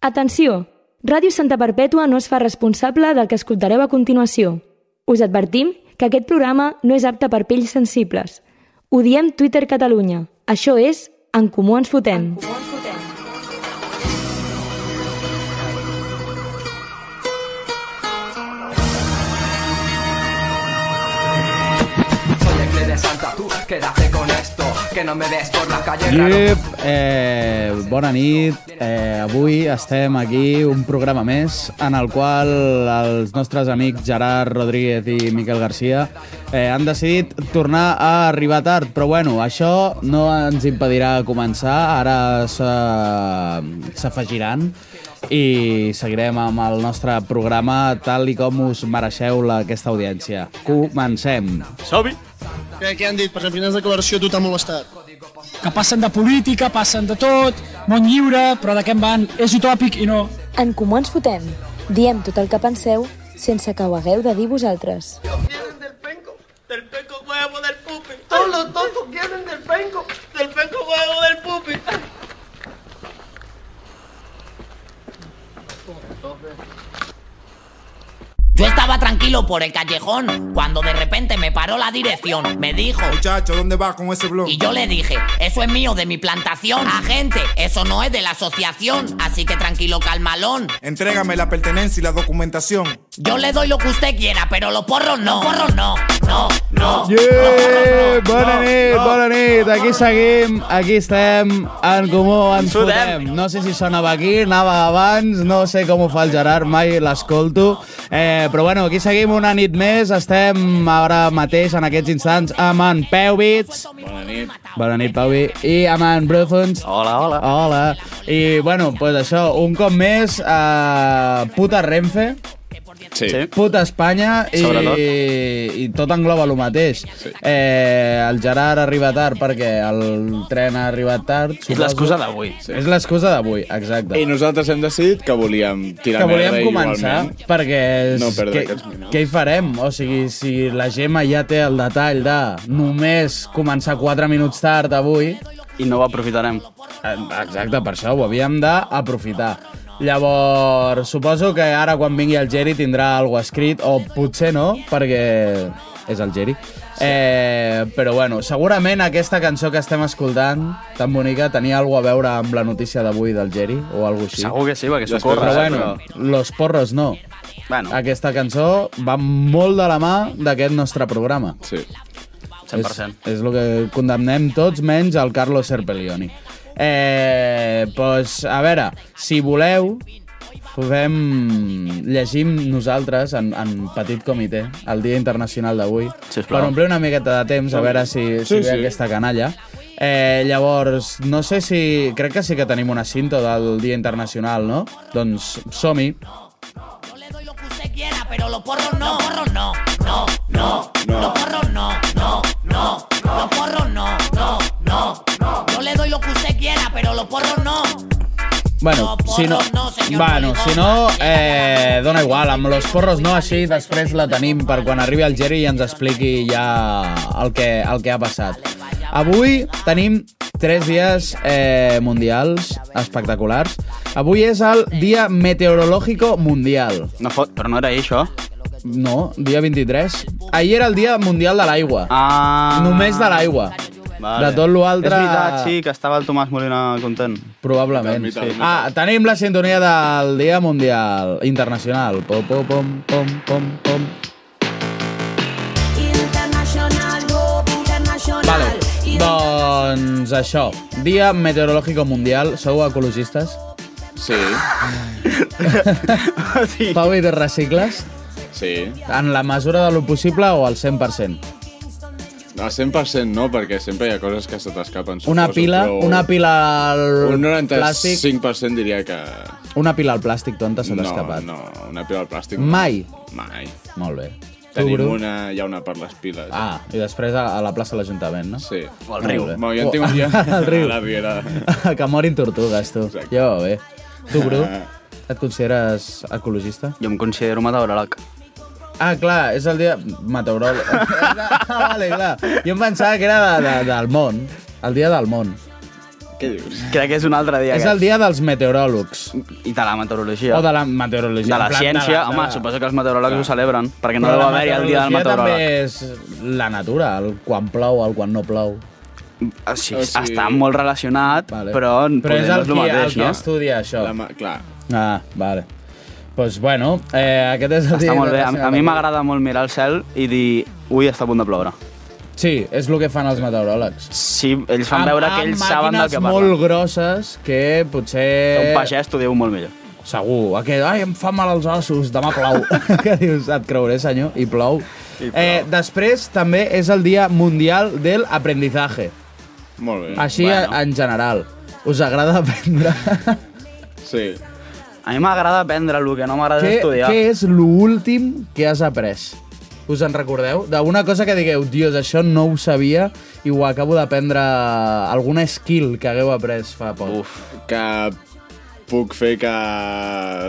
Atenció! Ràdio Santa Perpètua no es fa responsable del que escoltareu a continuació. Us advertim que aquest programa no és apte per pells sensibles. Ho diem Twitter Catalunya. Això és En Comú Ens Fotem. Soy el Cle de Santa, tú quédate con esto, que no me ves por la calle. Yep, eh, bona nit. Eh, avui estem aquí, un programa més, en el qual els nostres amics Gerard Rodríguez i Miquel Garcia eh, han decidit tornar a arribar tard, però bueno, això no ens impedirà començar. Ara se- s'afegiran i seguirem amb el nostre programa tal i com us mereixeu la- aquesta audiència. Comencem. Sobi. Què, què han dit? Per exemple, quines declaració a tu t'ha molestat? que passen de política, passen de tot, món lliure, però de què en van? És utòpic i no. En Comú Ens Fotem. Diem tot el que penseu sense que ho hagueu de dir vosaltres. quieren del penco, del penco huevo del pupi. Todos los tontos quieren del penco, del penco huevo del pupi. Yo estaba tranquilo por el callejón cuando de repente me paró la dirección. Me dijo, Muchacho, ¿dónde vas con ese blog? y yo le dije, eso es mío de mi plantación. Agente, eso no es de la asociación, así que tranquilo, calmalón. Entrégame la pertenencia y la documentación. Yo le doy lo que usted quiera, pero los porros no. Los porros no, no, no. Yeah! Bona nit, bona nit. Aquí seguim, aquí estem, en comú ens fotem. No sé si sonava aquí, anava abans, no sé com ho fa el Gerard, mai l'escolto. Eh, però bueno, aquí seguim una nit més, estem ara mateix, en aquests instants, amb en Peu Bits. Bona nit. Bona nit, Pauvi. I amb en Brufons. Hola, hola. Hola. I, bueno, doncs pues això, un cop més, eh, puta Renfe. Sí. sí. Puta Espanya i, Sobretot. i tot engloba el mateix. Eh, el Gerard arriba tard perquè el tren ha arribat tard. És l'excusa d'avui. Sí. És l'excusa d'avui, exacte. I nosaltres hem decidit que volíem tirar que volíem merda començar igualment. perquè és, No perdre què, aquests minuts. què hi farem? O sigui, si la Gemma ja té el detall de només començar 4 minuts tard avui, I no ho aprofitarem. Eh, Exacte, per això ho havíem d'aprofitar. Llavors, suposo que ara quan vingui el Geri tindrà alguna escrit, o potser no, perquè és el Geri. Eh, però bueno, segurament aquesta cançó que estem escoltant, tan bonica, tenia alguna a veure amb la notícia d'avui del Geri, o alguna així. Segur que sí, perquè s'ho Però corre. bueno, Los Porros no. Bueno, Aquesta cançó va molt de la mà d'aquest nostre programa. Sí. 100%. És, és el que condemnem tots, menys el Carlos Serpellioni. Eh, pues, a veure, si voleu, podem llegir nosaltres en, en petit comitè el Dia Internacional d'avui Sisplau. per omplir una miqueta de temps, a veure si, si sí, Sí, ve sí. aquesta canalla. Eh, llavors, no sé si... Crec que sí que tenim una cinta del Dia Internacional, no? Doncs som-hi. Yo le doy lo que usted quiera, pero los porros no. Los porros no, no, no. Los porros no, no, no. Los porros no, no, no. Yo le doy lo que usted quiera, pero los porros no. Bueno, No, si no... porros no, señor Bueno, Polibón. si no, eh, dona igual, amb los porros no, així després la tenim per quan arribi el Geri i ens expliqui ja el que, el que ha passat. Avui tenim tres dies eh, mundials espectaculars. Avui és el Dia Meteorológico Mundial. No fot, però no era ell, això. No, dia 23. Ahir era el Dia Mundial de l'Aigua. Ah. Només de l'aigua. Vale. De tot lo altre- És veritat, sí, que estava el Tomàs Molina content. Probablement. Mital, mital, sí. Ah, tenim la sintonia del Dia Mundial Internacional. Pom, pom, pom, pom, pom, pom. Vale. Doncs això, Dia Meteorológico Mundial, sou ecologistes? Sí, sí. Pau i de recicles? sí. En la mesura de lo possible o al 100%? No, 100% no, perquè sempre hi ha coses que se t'escapen. Una suposo, pila, però una pila al Un plàstic, 95% diria que... una pila al plàstic tonta se t'ha No, escapat. no, una pila al plàstic. no. Mai. Mai. Molt bé. Tenim Bru? una, hi ha una per les piles. Ah, i després a, a la plaça de l'Ajuntament, no? Sí. O al riu. Molt bé. Bueno, jo en tinc un dia Al riu. a la Viera. que morin tortugues, tu. Exacte. Ja va bé. Tu, Bru, Ah. et consideres ecologista? Jo em considero meteoròleg. Ah, clar, és el dia... Meteoròleg. ah, vale, clar. Jo em pensava que era de, de, del món. El dia del món. Què dius? Crec que és un altre dia. És aquest. el dia dels meteoròlegs. I de la meteorologia. O de la meteorologia. De la en plan, ciència, de home, suposo que els meteoròlegs ho celebren, perquè no Però deu la haver-hi el dia del meteorologia meteoròleg. També és la natura, el quan plou, el quan no plou. O sigui, Ah, Està molt relacionat, vale. Ah, però, Però és el, el qui, mateix, el qui no? estudia això. La ma- clar. Ah, vale. Doncs pues bueno, eh, aquest és el Està dia molt bé. A, a mi internacional. m'agrada molt mirar el cel i dir, ui, està a punt de ploure. Sí, és el que fan els meteoròlegs. Sí, ells fan veure que ells saben del que parlen. parlen. molt grosses que potser... Un pagès t'ho diu molt millor. Segur. Aquest, ai, em fan mal els ossos, demà plou. que dius, et creuré, senyor, i plou. I plou. Eh, després també és el Dia Mundial del Aprendizaje. Molt bé. Així, bueno. en general. Us agrada aprendre? Sí. A mi m'agrada aprendre, el que no m'agrada és Què, estudiar. què és l'últim que has après? Us en recordeu? D'alguna cosa que digueu, dios, això no ho sabia i ho acabo d'aprendre, alguna skill que hagueu après fa poc. Uf. Que puc fer que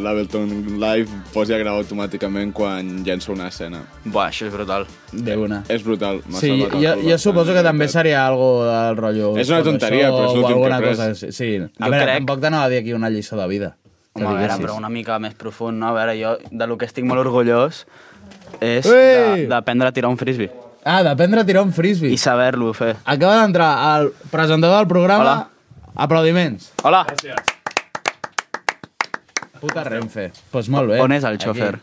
l'Ableton Live posi a gravar automàticament quan llenço una escena. Buah, això és brutal. De una. És brutal. Eh, m'ha Sí, salvat el jo, cul eh, jo suposo que també seria algo del rotllo... És una tonteria, Photoshop però és o l'últim que alguna he après. cosa així. Sí, a Jo veure, crec- tampoc t'anava a dir aquí una lliçó de vida. que Home, a veure, diguessis. però una mica més profund, no? A veure, jo de lo que estic molt orgullós és Ei! de- d'aprendre a tirar un frisbee. Ah, d'aprendre a tirar un frisbee. I saber-lo fer. Acaba d'entrar el presentador del programa... Hola. Aplaudiments. Hola! Puta Renfe. Doncs pues molt bé. On és el xòfer?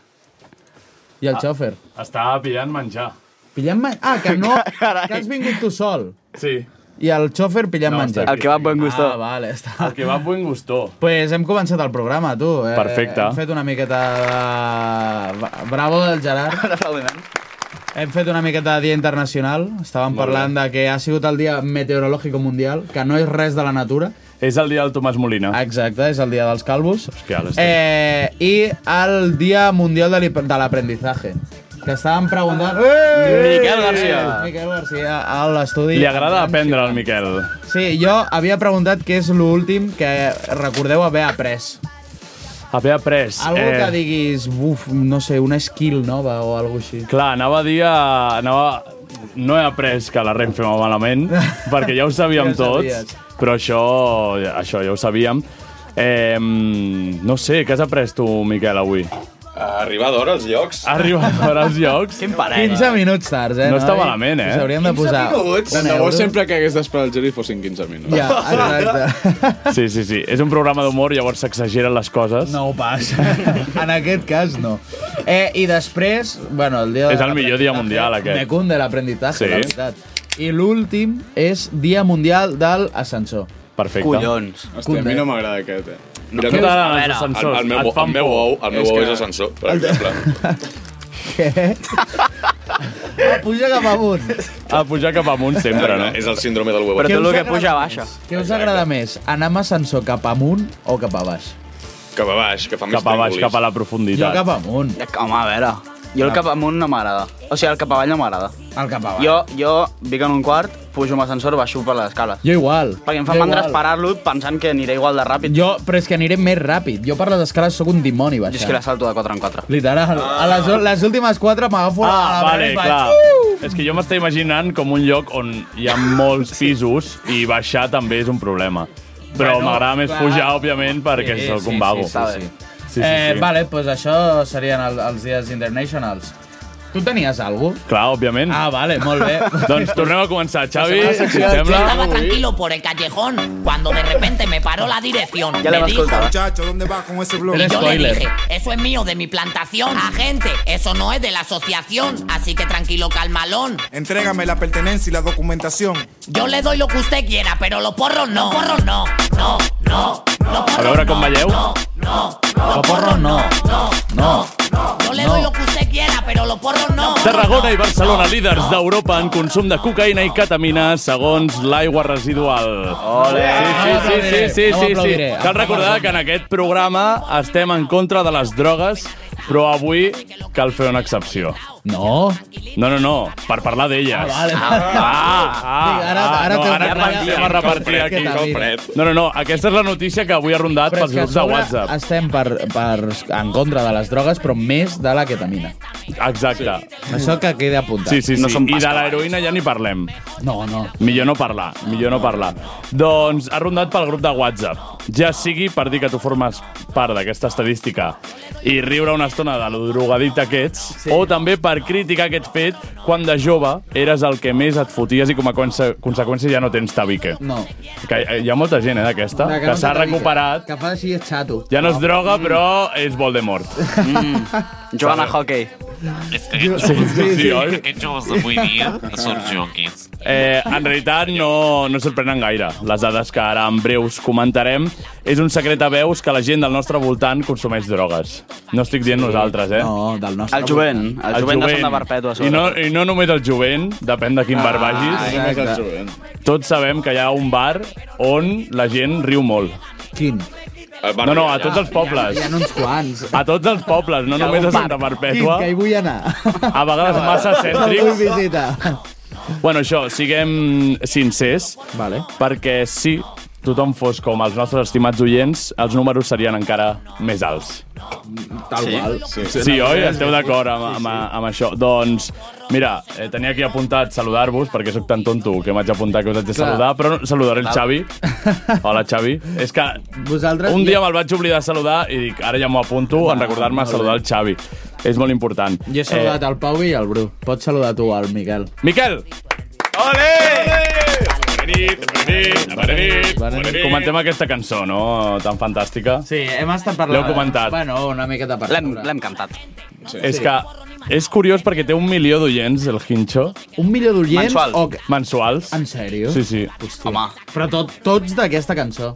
I el xòfer? Estava pillant menjar. Pillant-me... Ah, que no... que has vingut tu sol. Sí. I el xòfer pillant no, menjar. Ah, va. vale, està. El que va buen gusto. Pues hem començat el programa, tu. Eh, Perfecte. Hem fet una miqueta de... Bravo del Gerard. Un aplaudiment. Hem fet una miqueta de dia internacional. Estàvem Molt parlant de que ha sigut el dia meteorològic mundial, que no és res de la natura. És el dia del Tomàs Molina. Exacte, és el dia dels calvos. Hòstia, l'estem. Eh, I el dia mundial de l'hip- de l'aprendizaje. Que estàvem preguntant... Eh! Miquel García. Miquel García, a l'estudi. Li agrada aprendre al Miquel. Sí, jo havia preguntat què és l'últim que recordeu haver après. Haver après... Eh, Algo que diguis, buf, no sé, una skill nova o alguna així. Clar, anava a dir... A... Anava... No he après que la Renfe va malament, perquè ja ho Ja sabíem ho sabies. tots, però això, això ja ho sabíem. Eh, no sé, què has après tu, Miquel, avui? Arribar d'hora als llocs. Arribar d'hora als llocs? Quin parell. 15 minuts tards, eh? No està noi? malament, eh? Us hauríem de posar... Tant de bo sempre que hagués d'esperar el Geri fossin 15 minuts. Ja, exacte. Sí, sí, sí. És un programa d'humor, llavors s'exageren les coses. No ho passa. en aquest cas, no. Eh, I després, bueno, el dia... de És el millor dia mundial, l'aprenentatge, aquest. Me cunde l'aprenditatge, Sí. sí. la veritat. I l'últim és Dia Mundial del Ascensor. Perfecte. Collons. Hòstia, a mi no m'agrada aquest, eh. No t'agraden els ascensors, El, el, meu, et fan el meu por. ou, el meu És ou que- és ascensor, per exemple. Què? ah, puja cap amunt. A pujar cap amunt sempre, no? És el síndrome del huevo. Què us agrada baixa. Què us agrada més, anar amb ascensor cap amunt o cap a baix? Cap a baix, que fa més Cap a baix, triangulis. cap a la profunditat. Jo cap amunt. Home, a veure, jo el cap amunt no m'agrada. O sigui, el cap avall no m'agrada. El cap avall. Jo, jo vinc en un quart, pujo amb ascensor, baixo per les escales. Jo igual. Perquè em fa Jo mandra igual. esperar-lo pensant que aniré igual de ràpid. Jo, però és que aniré més ràpid. Jo per les escales sóc un dimoni Jo baixant. és que la salto de 4 en 4. Literal. Ah. A les, les últimes quatre m'agafo a Ah, la vale, i faig, clar. "Uh!" És que jo m'està imaginant com un lloc on hi ha molts pisos i baixar també és un problema. Però Bueno, m'agrada més clar. pujar, òbviament, perquè Sí, sóc sí, un vago. sí, sí, sí. sí, sí, eh, sí. Vale, doncs pues això serien el, els dies internationals. Tu tenies alguna cosa? Clar, òbviament. Ah, vale, molt bé. Doncs tornem a començar, Xavi, La setmana si et secció sembla. Yo estaba tranquilo por el callejón cuando de repente me paró la dirección. Ya le me vas dijo, contando. Muchacho, ¿dónde vas con ese blog? y yo le dije, eso es mío de mi plantación. Agente, eso no es de la asociación, así que tranquilo, calmalón. Entrégame la pertenencia y la documentación. Yo le doy lo que usted quiera, pero los porros no. Los porros no. No, no, A veure com balleu. No, porro, no. No. Yo le doy lo que usted quiera, pero los porros no. Tarragona i Barcelona, líders d'Europa en consum de cocaïna i ketamina segons l'aigua residual. Ole! Sí, sí, sí, sí, sí, No sí, sí. m'aplaudiré. Cal recordar que en aquest programa estem en contra de les drogues Però avui cal fer una excepció. No? No, no, no, per parlar d'elles. Ah, vale. Ah, ah, Vinga, ara- ara no, té un ara fred. comencem a repartir Què aquí. tal, mira? No, no, no, aquesta és la notícia que avui ha rondat Però és pels que a grups de sobre WhatsApp. Estem per, per, en contra de les drogues, però més de la ketamina. Exacte. Sí. Això que queda apuntat. Sí, sí, sí. No són I pas de cavalls. l'heroïna ja ni parlem. No, no. Millor no parlar, millor no parlar. Doncs ha rondat pel grup de WhatsApp. Ja sigui per dir que tu formes part d'aquesta estadística i riure una estona de lo drogadicte que ets, sí. o també per criticar aquest fet quan de jove eres el que més et foties i com a conse conseqüència ja no tens tabique. No. Que hi- hi ha molta gent, eh, d'aquesta, De que no s'ha té tabique. recuperat. Que fa així és xato. Ja no és droga, però és Voldemort. Mm. Jugant a hockey. Sí, sí, sí, oi? Aquests joves d'avui dia són junkies. Eh, en realitat no, no sorprenen gaire les dades que ara en breus comentarem. És un secret a veus que la gent del nostre voltant consumeix drogues. No estic dient nosaltres, eh? No, del nostre El jovent, voltant. el jovent de Santa Perpètua, I no, I no només el jovent, depèn de quin bar Ah, vagis. només el jovent. Tots sabem que hi ha un bar on la gent riu molt. Quin? bar No, no, que hi ha. a tots els pobles. Hi ha uns quants. A tots els pobles, Ah, no Hi ha només un a Santa bar. Perpètua. Quin, que hi vull anar. A vegades massa No eh? vull cèntrics. visitar. Bueno, això, siguem sincers, vale. perquè si tothom fos com els nostres estimats oients, els números serien encara més alts. Tal sí? qual. Sí, sí, sí oi? Esteu d'acord amb, amb, amb això. Doncs, mira, eh, tenia aquí apuntat saludar-vos, perquè sóc tan tonto que m'haig d'apuntar que us haig de Clar. saludar, però no- saludaré el Val. Xavi. Hola, Xavi. És que Vosaltres... un dia me'l vaig oblidar de saludar i dic, ara ja m'ho apunto en recordar-me a saludar el Xavi. És molt important. Eh, Jo he saludat el Pau i el Bru. Pots saludar tu al Miquel. Miquel! Bona nit, bona nit. Comentem aquesta cançó, no? Tan fantàstica. Sí, hem estat parlant... L'heu comentat. Bueno, una miqueta per L'hem cantat. Sí. És que és curiós perquè té un milió d'oients, el Hincho. Un milió d'oients Mensual. o... que- Mensuals. En sèrio? Sí, sí. Hòstia. Home. Però tot, tots d'aquesta cançó.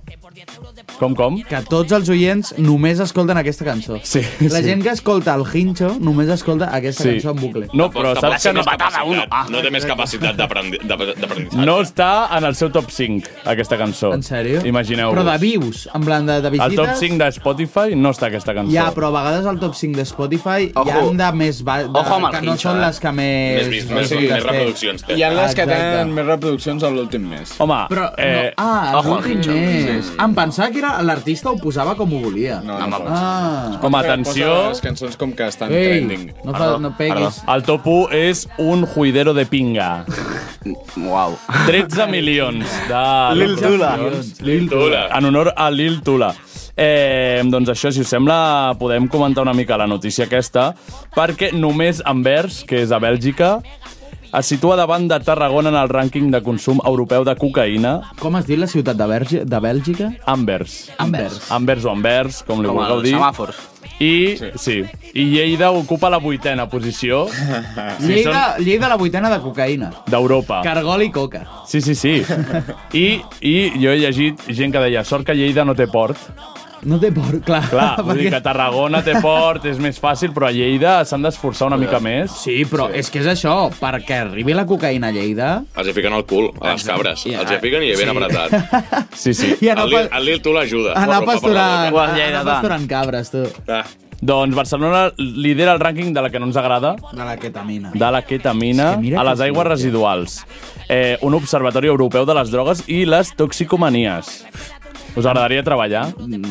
Com, com? Que tots els oients només escolten aquesta cançó. Sí, La sí. gent que escolta el Hincho només escolta aquesta Sí. cançó en bucle. No, però saps que no, Ah, no té més capacitat d'aprendi- d'apre- d'aprenentatge. no està en el seu top 5, aquesta cançó. En sèrio? Imagineu-vos. Però de views, en plan de, de El visites... top 5 de Spotify no està aquesta cançó. Ja, però a vegades el top 5 de Spotify Ojo. hi ha de més... Ba... De... Ojo amb el que no Hincho, són eh? les que més... Més vist, més- més les té. reproduccions té. Hi ha les que Exacte. tenen més reproduccions a l'últim mes. Home, Però, eh, no, ah, Ojo al l'últim Hincho. mes. Sí. Em pensava que era l'artista ho posava com ho volia. No, no, no. Ah. Home, atenció. Les cançons com que estan Ei, trending. no fa- Perdó, no peguis. El top 1 és un juidero de pinga. Uau. 13 milions de... Lil Tula. Lil Tula. En honor a Lil Tula. Eh, doncs això, si us sembla, podem comentar una mica la notícia aquesta, perquè només Anvers, que és a Bèlgica, es situa davant de Tarragona en el rànquing de consum europeu de cocaïna. Com es diu la ciutat de, Berge, de Bèlgica? Anvers. Anvers. Anvers o Anvers, com li Com vulgueu els dir. semàfors. I, sí. sí. I Lleida ocupa la vuitena posició. Sí, Ah. Lleida, Lleida la vuitena de cocaïna. D'Europa. Cargol i coca. Sí, sí, sí. I, I jo he llegit gent que deia sort que Lleida no té port. No té por, clar. Clar, vull dir que Tarragona té port, és més fàcil, però a Lleida s'han d'esforçar una mica més. Sí, però sí. és que és això, perquè arribi la cocaïna a Lleida... Els hi fiquen al cul, a les cabres. Ja. Els hi fiquen i ben Sí. apretat. Sí, sí. I anar El Lil- el Lil tu l'ajuda. Però Anar per la pasturant, boca. anar pasturant cabres, tu. Ah. Doncs Barcelona lidera el rànquing de la que no ens agrada, De la ketamina. de la ketamina mira a que les sí, aigües tio. residuals. Eh, un observatori europeu de les drogues i les toxicomanies. Us agradaria treballar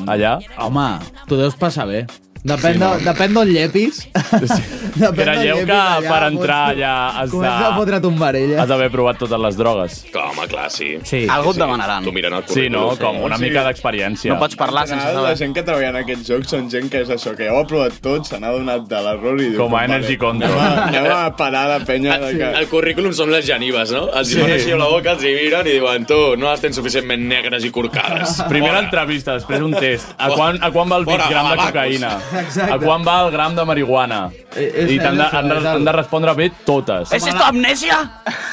allà? Home, tu deus passar bé. Depèn, sí, no. de, depèn d'on llepis. Depèn d'on Creieu llepis que allà, per pots- entrar allà has Comença a de, Ah, fotre tombarella. has d'haver provat totes les drogues? Clar, home, clar, sí. Sí. Algú et demanaran. Tu mirant el Sí, no? currículum. Com una mica d'experiència. No pots Ah, parlar sense general, saber. la gent que treballa en aquests jocs són gent que és això, que ja ho ha provat tot, se n'ha donat de l'error i diu... Com a Energy Control. Anem a, anem a parar la penya de que... Ah, El currículum són les genives, no? Els hi Sí. sí. així a la boca, els hi miren i diuen tu, no les tens suficientment negres i corcades. Primera entrevista, després un test. A quan, a quan va el 20 Fora, gram de babacos. cocaïna? Exacte. A quan va el gram de marihuana? Eh, és- I t'han de, és això, han de, és el- han de respondre bé totes. ¿Es esto amnesia?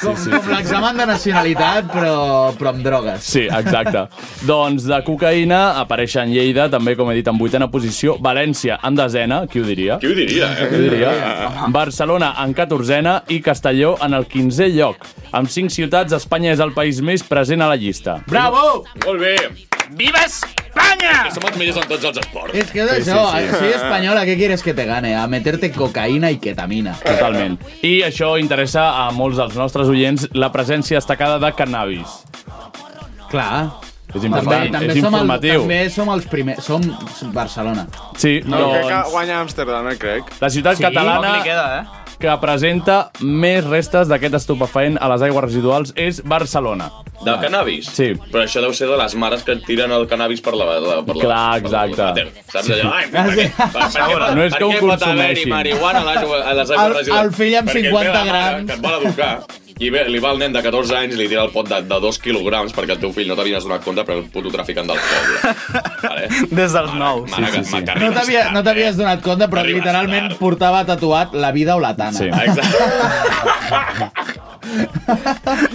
Com, com l'examen de nacionalitat, però, però amb drogues. Sí, exacte. doncs de cocaïna apareixen Lleida, també, com he dit, en vuitena posició. València, en desena, qui ho diria? Qui ho diria, eh? Qui ho diria? Barcelona, en catorzena, i Castelló, en el quinzè lloc. Amb cinc ciutats, Espanya és el país més present a la llista. Bravo! Molt bé. ¡Viva España! Espanya! Som els millors en tots els esports. És que és sí, això, sí, sí. soy española, ¿qué quieres que te gane? A meterte cocaïna i ketamina. Totalment. I això interessa a molts dels nostres oients, la presència destacada de cannabis. Clar. És important, és som el, informatiu. també som els primers, som Barcelona. Sí, No, crec que doncs, guanya Amsterdam, eh, crec. la ciutat Sí, catalana poc li queda, eh? que presenta més restes d'aquest estupefaent a les aigües residuals és Barcelona. Del cannabis? Sí. Però això deu ser de les mares que et tiren el cannabis per la... la per la Clar, per la- exacte. per la terra. Saps allò? Ah, Ai, per, Sí. per, per, per, per, No és que per ho què pot haver-hi consumeixin. marihuana a les, a les El- aigües residuals? el fill amb Perquè té 50 la mare grams. Que et vol educar. I ve, li va el nen de 14 anys i li tira el pot de, de 2 quilograms perquè el teu fill no t'havies donat compte, però el puto traficant del poble. Vale? Des dels nous. Mare, Eh? sí, sí, sí. No t'havia- no t'havies no donat compte, però literalment portava tatuat la vida o la tana. Sí.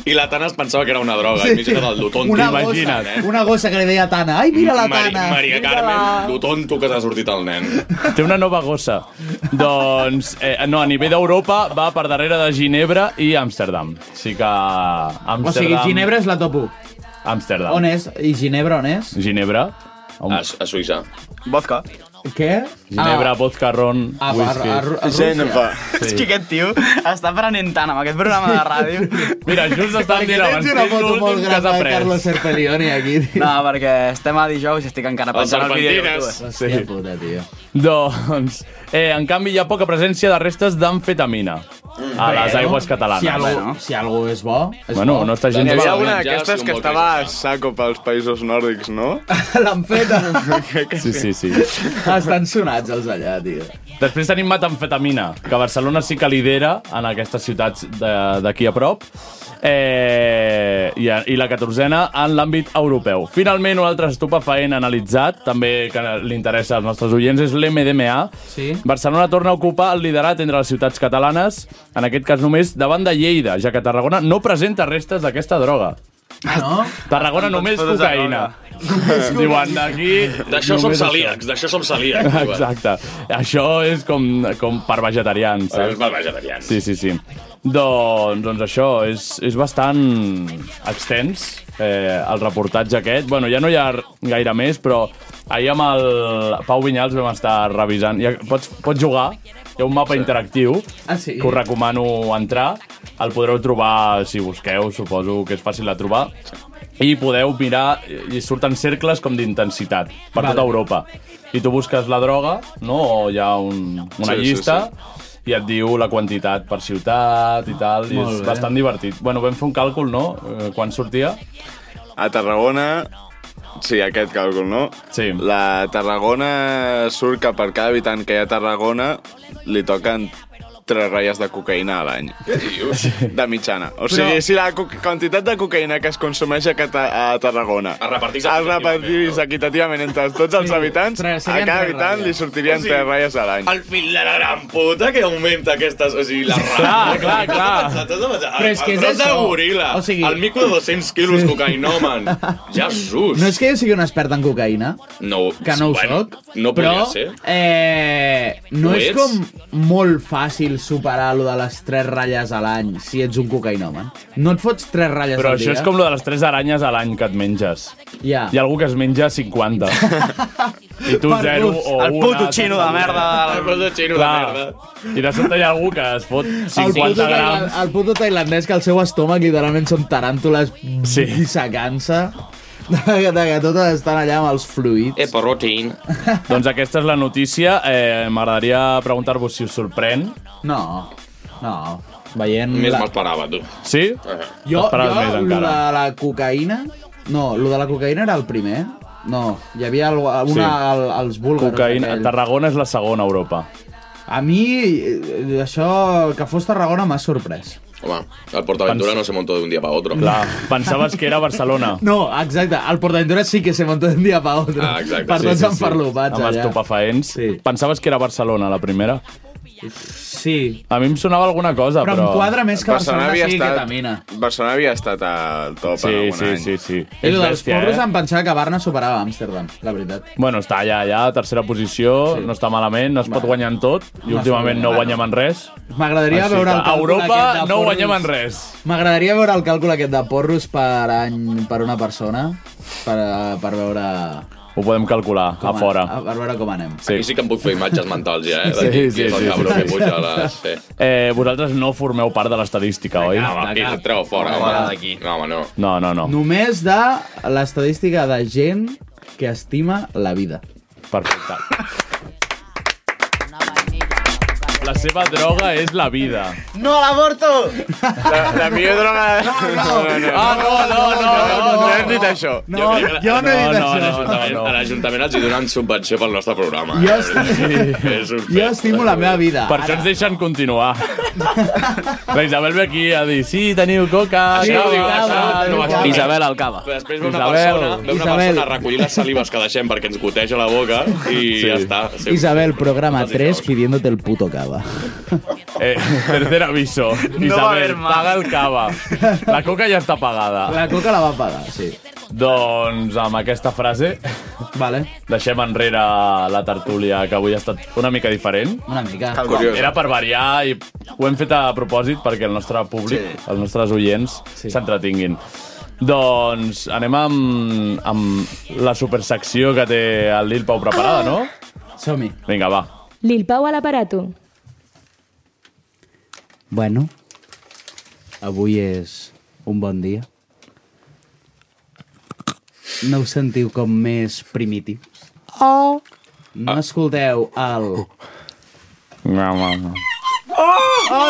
I la Tana es pensava que era una droga. Sí. I m'he el do tonto. eh? Una gossa, eh? una gossa que li deia tana. Ai, mira la Mari- tana. Maria mira Carmen, la- do tonto que t'ha sortit el nen. Té una nova gossa. doncs, eh, no, a nivell d'Europa va per darrere de Ginebra i Amsterdam. Sí que... Amsterdam... O sigui, Ginebra és la top 1. Amsterdam. On és? I Ginebra on és? Ginebra. Ah, A, a Suïssa. Vodka. Què? Ginebra, vodka, ron, Ah, va, whisky. a Ru- a Rússia. Genova. És que aquest tio està aprenent tant amb aquest programa de ràdio. Mira, just estan Perquè tens una foto molt gran de Carlos Serpelioni aquí. No, perquè estem a dijous i estic encara El pensant al vídeo. de YouTube. Serpentines. Hòstia Sí. puta, tio. Doncs, eh, en canvi, hi ha poca presència de restes d'amfetamina a les Bueno, aigües catalanes. Si algú, si algú és bo, és Bueno, bo. no està gens Hi havia malament. una d'aquestes que estava a saco pels països nòrdics, no? L'amfeta. Sí, sí, sí. Estan sonats els allà, tio. Després tenim metamfetamina, que Barcelona sí que lidera en aquestes ciutats de- d'aquí a prop. Eh, i, a- i la catorzena en l'àmbit europeu. Finalment, un altre estupefaent analitzat, també que li interessa als nostres oients, és l'MDMA. Sí. Barcelona torna a ocupar el liderat entre les ciutats catalanes, en aquest cas només davant de Lleida, ja que Tarragona no presenta restes d'aquesta droga. Ah, no? Tarragona només Totes a cocaïna. Diuen d'aquí... D'això som només això. celíacs, d'això som celíacs. diuen. Exacte. Això és com, com per vegetarians. Això saps? és per vegetarians. Sí, sí, sí. Doncs, doncs això, és, és bastant extens, eh, el reportatge aquest. Bueno, ja no hi ha gaire més, però ahir amb el Pau Vinyals vam estar revisant. Ja, pots, pots jugar, hi ha un mapa interactiu Ah, sí? que us recomano entrar. El podreu trobar si busqueu, suposo que és fàcil de trobar. I podeu mirar, i surten cercles com d'intensitat, per Vale. tota Europa. I tu busques la droga, no? o hi ha un, una Sí, sí, llista, sí, sí. i et diu la quantitat per ciutat i tal, i Molt és bé. bastant divertit. Bueno, vam fer un càlcul, no?, Eh, quan sortia. A Tarragona... Sí, aquest càlcul, no? Sí. La Tarragona surt que per cada habitant que hi ha a Tarragona li toquen tres ratlles de cocaïna a l'any. Què dius? De mitjana. O sigui, Però- si la co- quantitat de cocaïna que es consumeix a, Cata a Tarragona Es repartís es repartís Ah, equitativament entre tots els habitants, a serien cada tres habitant ratlles. li sortirien O sigui, tres ratlles a l'any. El fill de la gran puta que augmenta aquestes... O sigui, la rata. clar, clar. Però és que és això. de goril·la. O sigui... El mico de 200 quilos sí. cocaïnomen. Jesús. No és que jo sigui un expert en cocaïna, No, que no ho bueno, soc, No però podria ser. eh, no Ho és ets? com molt fàcil superar lo de les tres ratlles a l'any si ets un cocaïnoman. No et fots tres ratlles Però al això dia. és com lo de les tres aranyes a l'any que et menges. Ja. Hi ha algú que es menja 50. I tu Per zero gust. o El una, puto saps? xino de merda. El puto xino de Clar. merda. I de sobte hi ha algú que es fot El puto, 50 grams. tailan- el puto tailandès que el seu estómac literalment són taràntules sí. i secant-se. Que, que totes estan allà amb els fluids. Eh, porrotin. doncs aquesta és la notícia. Eh, M'agradaria preguntar-vos si us sorprèn. No, no. Veient... Més la- m'esperava, tu. Sí? Jo, jo, T'esperaves més lo de encara. la cocaïna... No, lo de la cocaïna era el primer. No, hi havia algo- una Sí. sí. al, als búlgars. Cocaïna. aquells. Tarragona és la segona a Europa. A mi, eh, això, que fos Tarragona m'ha sorprès. Home, el PortAventura Pens- no se montó de un dia para otro. Clar, pensaves que era Barcelona. No, exacte, el PortAventura sí que se montó d'un dia pa otro. Ah, exacte. Per tots enfarlopats Amb allà. estupefaents. Sí. Pensaves que era Barcelona, la primera? Sí. A mi em sonava alguna cosa, Ah, però... Barcelona havia estat al top Sí, en algun sí, eh? any. sí, sí. I És lo dels bèstia, porros eh? em pensava que Barna superava Amsterdam, la veritat. Bueno, està allà, allà, tercera posició, sí. no està malament, no es pot guanyar en tot, i No últimament està malament. no guanyem en res. M'agradaria Així veure que el A càlcul Ah, Europa aquest de no porros. guanyem en res. M'agradaria veure el càlcul aquest de porros per any per una persona per, per veure Ho podem calcular a fora. A veure com anem. Sí. Aquí sí que em puc fer imatges mentals ja, eh? Sí, De qui- sí, qui és el sí, cabró sí, que sí. puja a les... Sí. Eh, vosaltres no formeu part de l'estadística, oi? Ah, va, Pil, treu fora, home. No, home, no. No, no, no. Només de l'estadística de gent que estima la vida. Perfecte. La seva droga és la vida. ¡No al aborto! La, la millor droga... no, no, no. Ah, no, no, no, no, no. No hem dit això. No, jo, crec que- jo no he dit no, això. No, no, no, A l'Ajuntament els hi donen subvenció pel nostre programa. Jo eh? estic- És un Jo estimo la meva vida. Per això ens deixen continuar. La Isabel ve aquí a dir, sí, teniu coca, Sí, cava, diu, cava, això teniu no coca". va- Cava. Però després ve una, Isabel, persona, ve una Isabel. persona a recollir les salives que deixem perquè ens goteja la boca i Sí. ja està. Sí, Isabel, programa 3, pidiéndote el puto cava. Eh, tercer aviso. No va a Isabel, haver más. paga el cava. La coca ja està pagada. La coca la va pagar, sí. Doncs amb aquesta frase vale. deixem enrere la tertúlia, que avui ha estat una mica diferent. Una mica. Curiosa. Era per variar i ho hem fet a propòsit perquè el nostre públic, sí. els nostres oients, s'entretinguin. Doncs anem amb, amb la supersecció que té el Lil Pau preparada, no? Som-hi. Vinga, va. Lil Pau a l'aparato. Bueno, avui és un bon dia. No us sentiu com més primitius? ¡Oh! No escolteu el... No, no, no. Oh.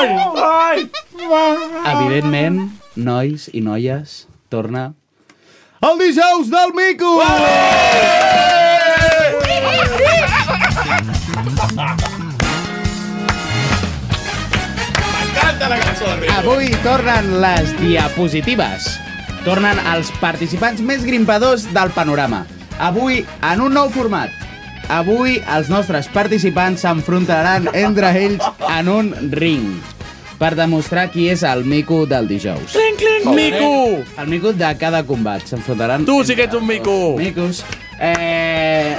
¡Ay! Evidentment, nois i noies, torna... El dijous del Mico! M'encanta la cançó de Avui tornen les diapositives. Tornen els participants més grimpadors del panorama. Avui en un nou format. Avui els nostres participants s'enfrontaran entre ells en un ring per demostrar qui és el mico del dijous. Clinc, clinc, mico! El mico de cada combat. S'enfrontaran... Tu sí que ets un mico! Micos. Eh,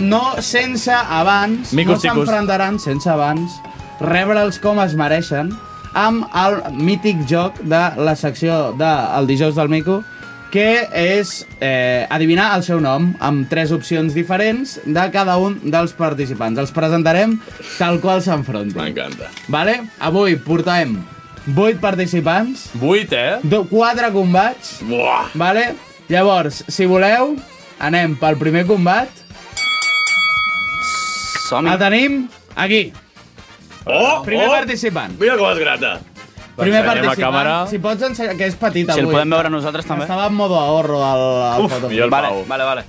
no sense abans... Micos, no ticos. s'enfrontaran sense abans rebre'ls com es mereixen amb el mític joc de la secció del de, El dijous del Mico que és eh, adivinar el seu nom amb tres opcions diferents de cada un dels participants. Els presentarem tal qual s'enfrontin. M'encanta. Vale? Avui portem 8 participants. 8, eh? 4 combats. Buah. Vale? Llavors, si voleu, anem pel primer combat. som El tenim aquí. Oh, primer oh. participant. Mira com es grata. Doncs Primer participant. Si pots ensenyar, que és petit Si avui. el podem veure nosaltres, també. Estava en modo ahorro al, al fotó. vale, vale, vale.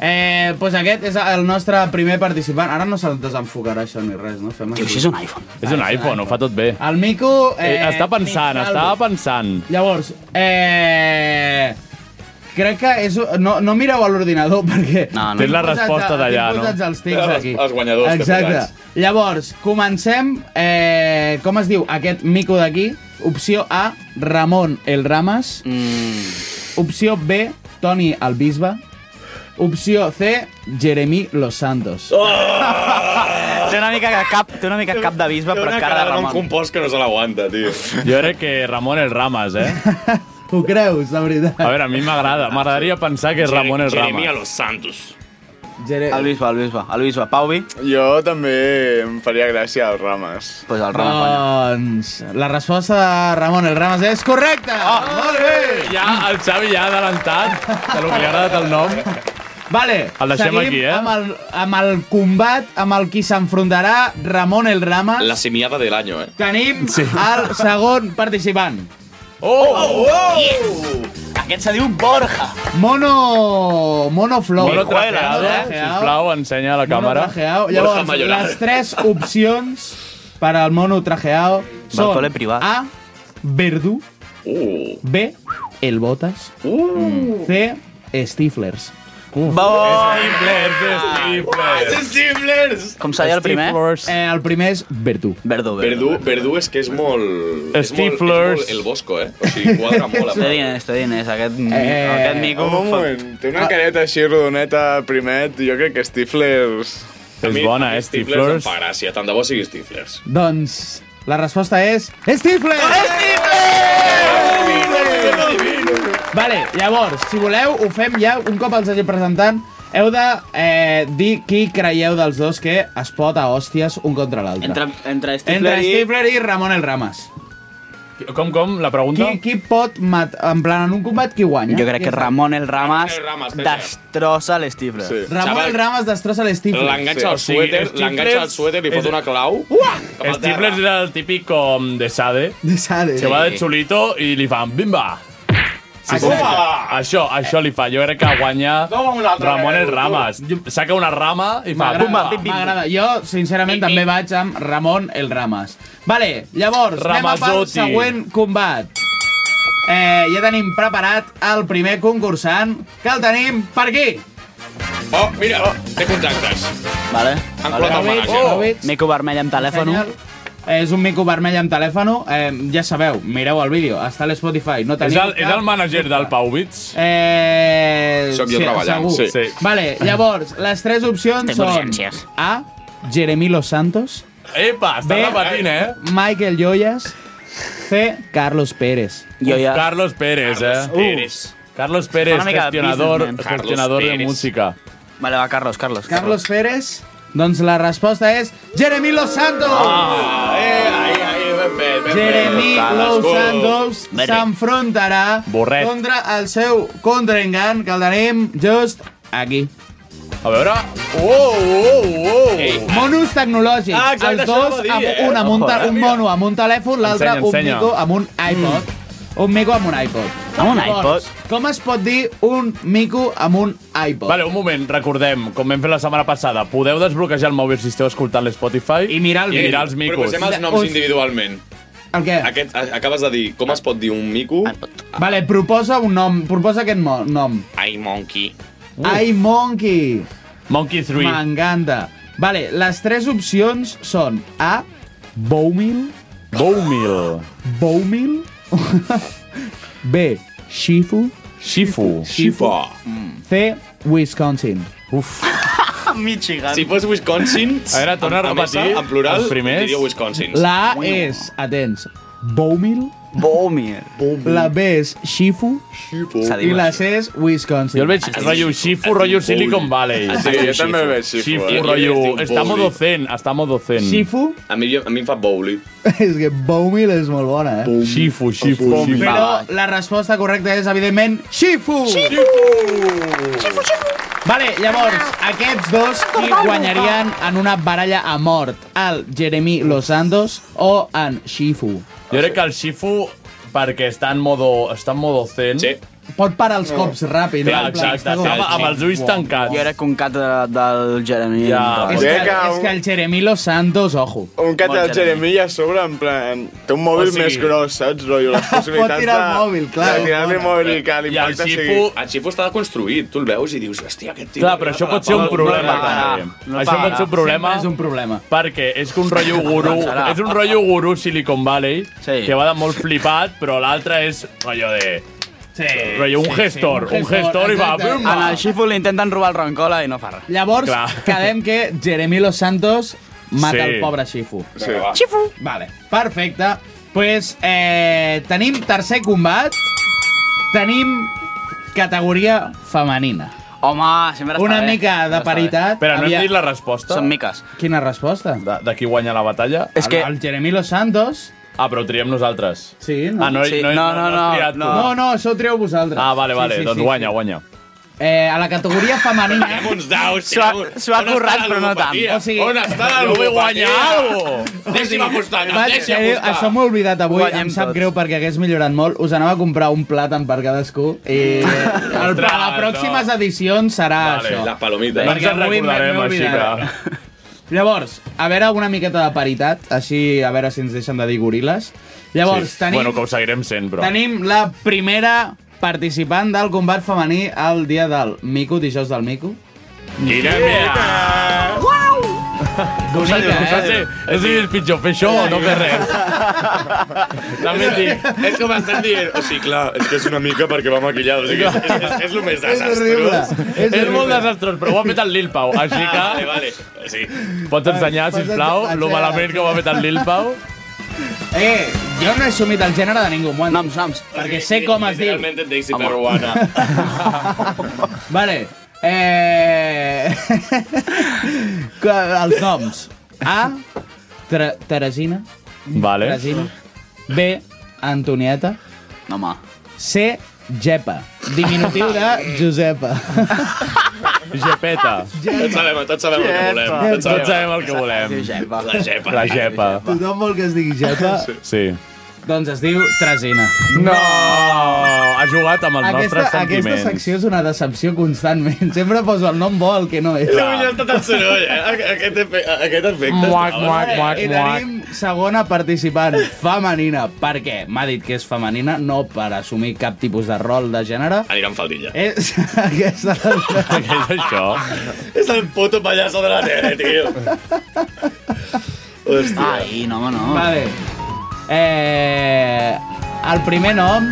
Eh, pues aquest és el nostre primer participant. Ara no se'n desenfocarà això ni res, no? Fem Tio, si és un iPhone. És un iPhone, ho fa tot bé. El Mico... Eh, està pensant, Mico, està pensant. Llavors, eh... Crec que és... No, no mireu a l'ordinador perquè... no. Tens la Tinc posats- resposta d'allà, tinc no? posats els tics Els- aquí. els guanyadors té Exacte. posats. Llavors, comencem... Eh, com es diu aquest mico d'aquí? Opció A, Ramon el Rames. Mm. Opció B, Toni el Bisbe. Opció C, Jeremy Los Santos. Oh. Té una mica de cap, té una mica cap de bisbe, Té però una cara de d'un Ramon. compost que no se l'aguanta, tio. Jo crec que Ramon el Rames, eh? Ho creus, la veritat? A veure, a mi m'agrada. M'agradaria pensar que és Ramon el Rames. los Santos. Jere... El bisbe, el bisbe, el bisbe. Pauvi? Jo també em faria gràcia als rames. Pues el Doncs la resposta de Ramon el Rames és correcta! Ah, Oh, molt bé! Ja, el Xavi ja ha adelantat de lo que li ha agradat el nom. Vale, El deixem seguim aquí, eh? amb el, amb el combat amb el qui s'enfrontarà Ramon el Rames. La semiada del año, eh. Tenim sí. el segon participant. Oh! oh! Aquest se diu Borja. Mono... Mono Flow. Mono trajeado, eh? sisplau, ensenya a la càmera. Trajeado. Llavors, les tres opcions per al mono trajeado són cole privat. A, Verdú, uh. B, El Botas, uh. C, Stiflers. Uf. Ah, Stiflers! Stiflers! Com seria el primer? Eh, el primer és Verdú. Verdú, Verdú, Verdú és que és molt... és molt- és Stiflers. molt el Bosco, eh? O sigui, quadra molt. Té diners, té diners, aquest, Eh, aquest mico. Un moment, té una careta així rodoneta, primet, jo crec que Stiflers... És bona, eh, Stiflers em fa gràcia, tant de bo sigui Stiflers. Doncs la resposta és... Stiflers! Vale, llavors, si voleu, ho fem ja un cop els hagi presentant. heu de eh, dir qui creieu dels dos que es pot a hòsties un contra l'altre. Entre, entre Stifler Entre i... Stifler i Ramon el Ramas. Com, com? La pregunta? Qui, qui pot matar... En plan, en un combat, qui guanya? Jo crec que Ramon el Ramas destrossa l'Stifler. Sí. Ramon el Ramas destrossa l'Stifler. L'enganxa al suèter, Stifler l'enganxa al suèter, li fot és- una clau. Stifler Stifler era el típic com de Sade. De Sade. Se va de xulito i li fan bimba. Sí, sí, sí. Home! Això, això li fa. Jo crec que guanya No, una altra Ramon el vegada, Ramas. Saca una rama i fa... M'agrada, M'agrada. Jo, sincerament, també vaig amb Ramon el Ramas. Vale, llavors, anem a pel Ramazotti. següent combat. Eh, ja tenim preparat el primer concursant, que el tenim per aquí. Oh, mira, té contractes. Vale. Han colat el mànager. Oh. Mico vermell amb telèfon. Senyal. Eh, És un mico vermell amb telèfon. Eh, ja sabeu, mireu el vídeo. Està a l'Spotify. No És teniu el, és el mànager del Pau Bits? Eh... Soc jo treballant, segur. sí. Vale, llavors, les tres opcions Tengo són... urgències. A, Jeremy Los Santos. Epa, està repetint, eh? Michael Joyas. C, Carlos Pérez. Uf, Carlos Pérez, eh? Pérez. Carlos Pérez, Una mica de gestionador, businessman. Carlos gestionador de Pérez. música. Vale, va, Carlos, Carlos. Carlos Pérez. Doncs la resposta és Jeremy Los Santos! Ah, eh, ai, ai, ben fet, ben fet. Jeremy Los Santos s'enfrontarà Borret. contra el seu contrincant, que el tenim just aquí. A veure... Oh, oh, oh! Ei, Monos tecnològics. Ah, els exacte, això dos, anava a dir, amb, eh? un, amb un, Ojo, te- eh, un mono amb un telèfon, l'altre Ensenya, un ensenya. Mm. mico amb un iPod. Un mico amb un iPod. Amb un Llavors, Com es pot dir un mico amb un iPod? Vale, un moment, recordem, com vam fer la setmana passada, podeu desbloquejar el mòbil si esteu escoltant l'Spotify i mirar, el i vídeo. mirar els micos. Proposem els noms individualment. El què? Aquest, a- acabes de dir com es pot dir un mico. Vale, proposa un nom, proposa aquest mo- nom. Ai, monkey. Ai, Monkey. Monkey 3. M'encanta. Vale, les tres opcions són A, Bowmil, Bowmil. Bowmil, B, Shifu, Shifu. Shifu. C, Wisconsin. Uf. Michigan. Si fos Wisconsin... A veure, torna a mesa, repetir En plural, els primers. diria Wisconsin. La A és, atents, Bowmil. Bowmil. La B és Shifu. Shifu. Se diu I la C és Wisconsin. Jo el veig rotllo Shifu, rotllo Silicon Valley. Ah, Sí, jo també el veig Shifu, eh? Shifu, Jo rotllo... estic Està Bowley. modo zen, està modo zen. Shifu? A mi, a mi em fa Bowley. És que Bowmil és molt bona, eh? Shifu, Shifu, Shifu. Però la resposta correcta és, evidentment, Shifu! Shifu! Shifu, Shifu! Vale, llavors, aquests dos qui guanyarien en una baralla a mort? El Jeremy Los Santos o en Shifu? Jo crec que el Shifu, perquè està en modo, està en modo zen... Sí. Pot parar els cops ràpid. Clar, eh? En plan, exacte, està com- estava amb els ulls tancats. Jo era un cat de, del Jeremy. Ja, És que, és que el Jeremy Los Santos, ojo. Un cat del Jeremy a sobre, en plan... Té un mòbil O sigui- més gros, saps, rotllo? Les possibilitats tirar el de- mòbil, clar. De tirar-li el mòbil i I que el l'impacte sigui... Xifu, el Xifu està construït, tu el veus i dius, hòstia, aquest tio... Clar, però això pot ser un problema, també. Això pot ser un problema. Sempre és un problema. Perquè és que un rotllo guru, Pensarà. és un rotllo guru Silicon Valley, que va de molt flipat, però l'altre és rotllo de... Sí, rotllo un sí, sí, gestor, un un gestor i va... bum, En el Shifu li intenten robar el Roncola i no fa res. Llavors, quedem que Jeremy Los Santos mata Sí. el pobre Shifu. Sí. Shifu. Vale, perfecte. Pues, eh, tenim tercer combat. Tenim categoria femenina. Home, sempre està Una bé. mica de Sempre està paritat. Espera, no Aviam. hem dit la resposta? Són miques. Quina resposta? De, de qui guanya la batalla? És que- El Jeremy Los Santos... Ah, però ho triem nosaltres. Sí, no? Ah, no, Sí. no, No, no, no, has triat tu. No, no, això ho trieu vosaltres. Ah, vale, vale, doncs guanya, guanya. Eh, a la categoria femenina... Tenim uns daus, s'ho ha, On està la ludopatia? On està la Jo vull ludopatia? guanyar Deixi'm apostar, no, Vaig, deixi'm eh, apostar. això m'ho he oblidat avui, Guanyem em sap tots. greu perquè hagués millorat molt. Us anava a comprar un plàtan per cadascú i el, Ostres, a les pròximes edicions serà Vale, això. les palomites. No ens en avui m'he- recordarem, m'he així oblidat. Llavors, a veure una miqueta de paritat, així a veure si ens deixen de dir goril·les. Llavors, Sí. tenim, Bueno, que ho seguirem sent, però. tenim la primera participant del combat femení al dia del Mico, dijous del Mico. Quina merda! Com s'ha Bonica, dit? eh? No sé si és pitjor fer això o no fer res. També et dic. És com estem dient... O sigui, clar, és que és una mica perquè va maquillada. O sigui, és, és, és, és el més desastrós. És, molt desastrós, però ho ha fet el Lil Pau, així que... Vale, vale. O sigui, Pots ensenyar, Pots sisplau, ensenyar. lo malament que ho ha fet el Lil Pau? Eh, jo no he assumit el gènere de ningú. Bueno, noms, noms. Perquè sé com es diu. Realment et deixi peruana. Vale. Eh... que- Els noms. A, Tre- Teresina. Vale. Teresina. B, Antonieta. Home. C, Gepa. Diminutiu de Josepa. Gepeta. Tots sabem, tots sabem el que volem. Tots sabem el que volem. La gepa. La gepa. Tothom vol que es digui Gepa. Sí. Doncs es diu Tresina. No! Ha jugat amb els nostres Aquesta, aquesta sentiments. secció és una decepció constantment. Sempre poso el nom bo al que no és. L'he mullat tot el soroll, eh? A- Aquest, efe- a- aquest efecte. Muac, estava- muac, muac, I tenim segona participant femenina. Per què? M'ha dit que és femenina, no per assumir cap tipus de rol de gènere. Anirà amb faldilla. És aquesta... Què és això? És el puto pallasso de la tele, tio. Hòstia. Ai, no, home, no. Vale. Eh, el primer nom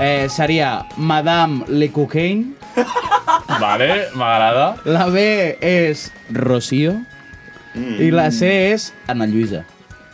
eh, seria Madame Le Coquin. Vale, m'agrada. La B és Rocío. I la C és Ana Lluïsa.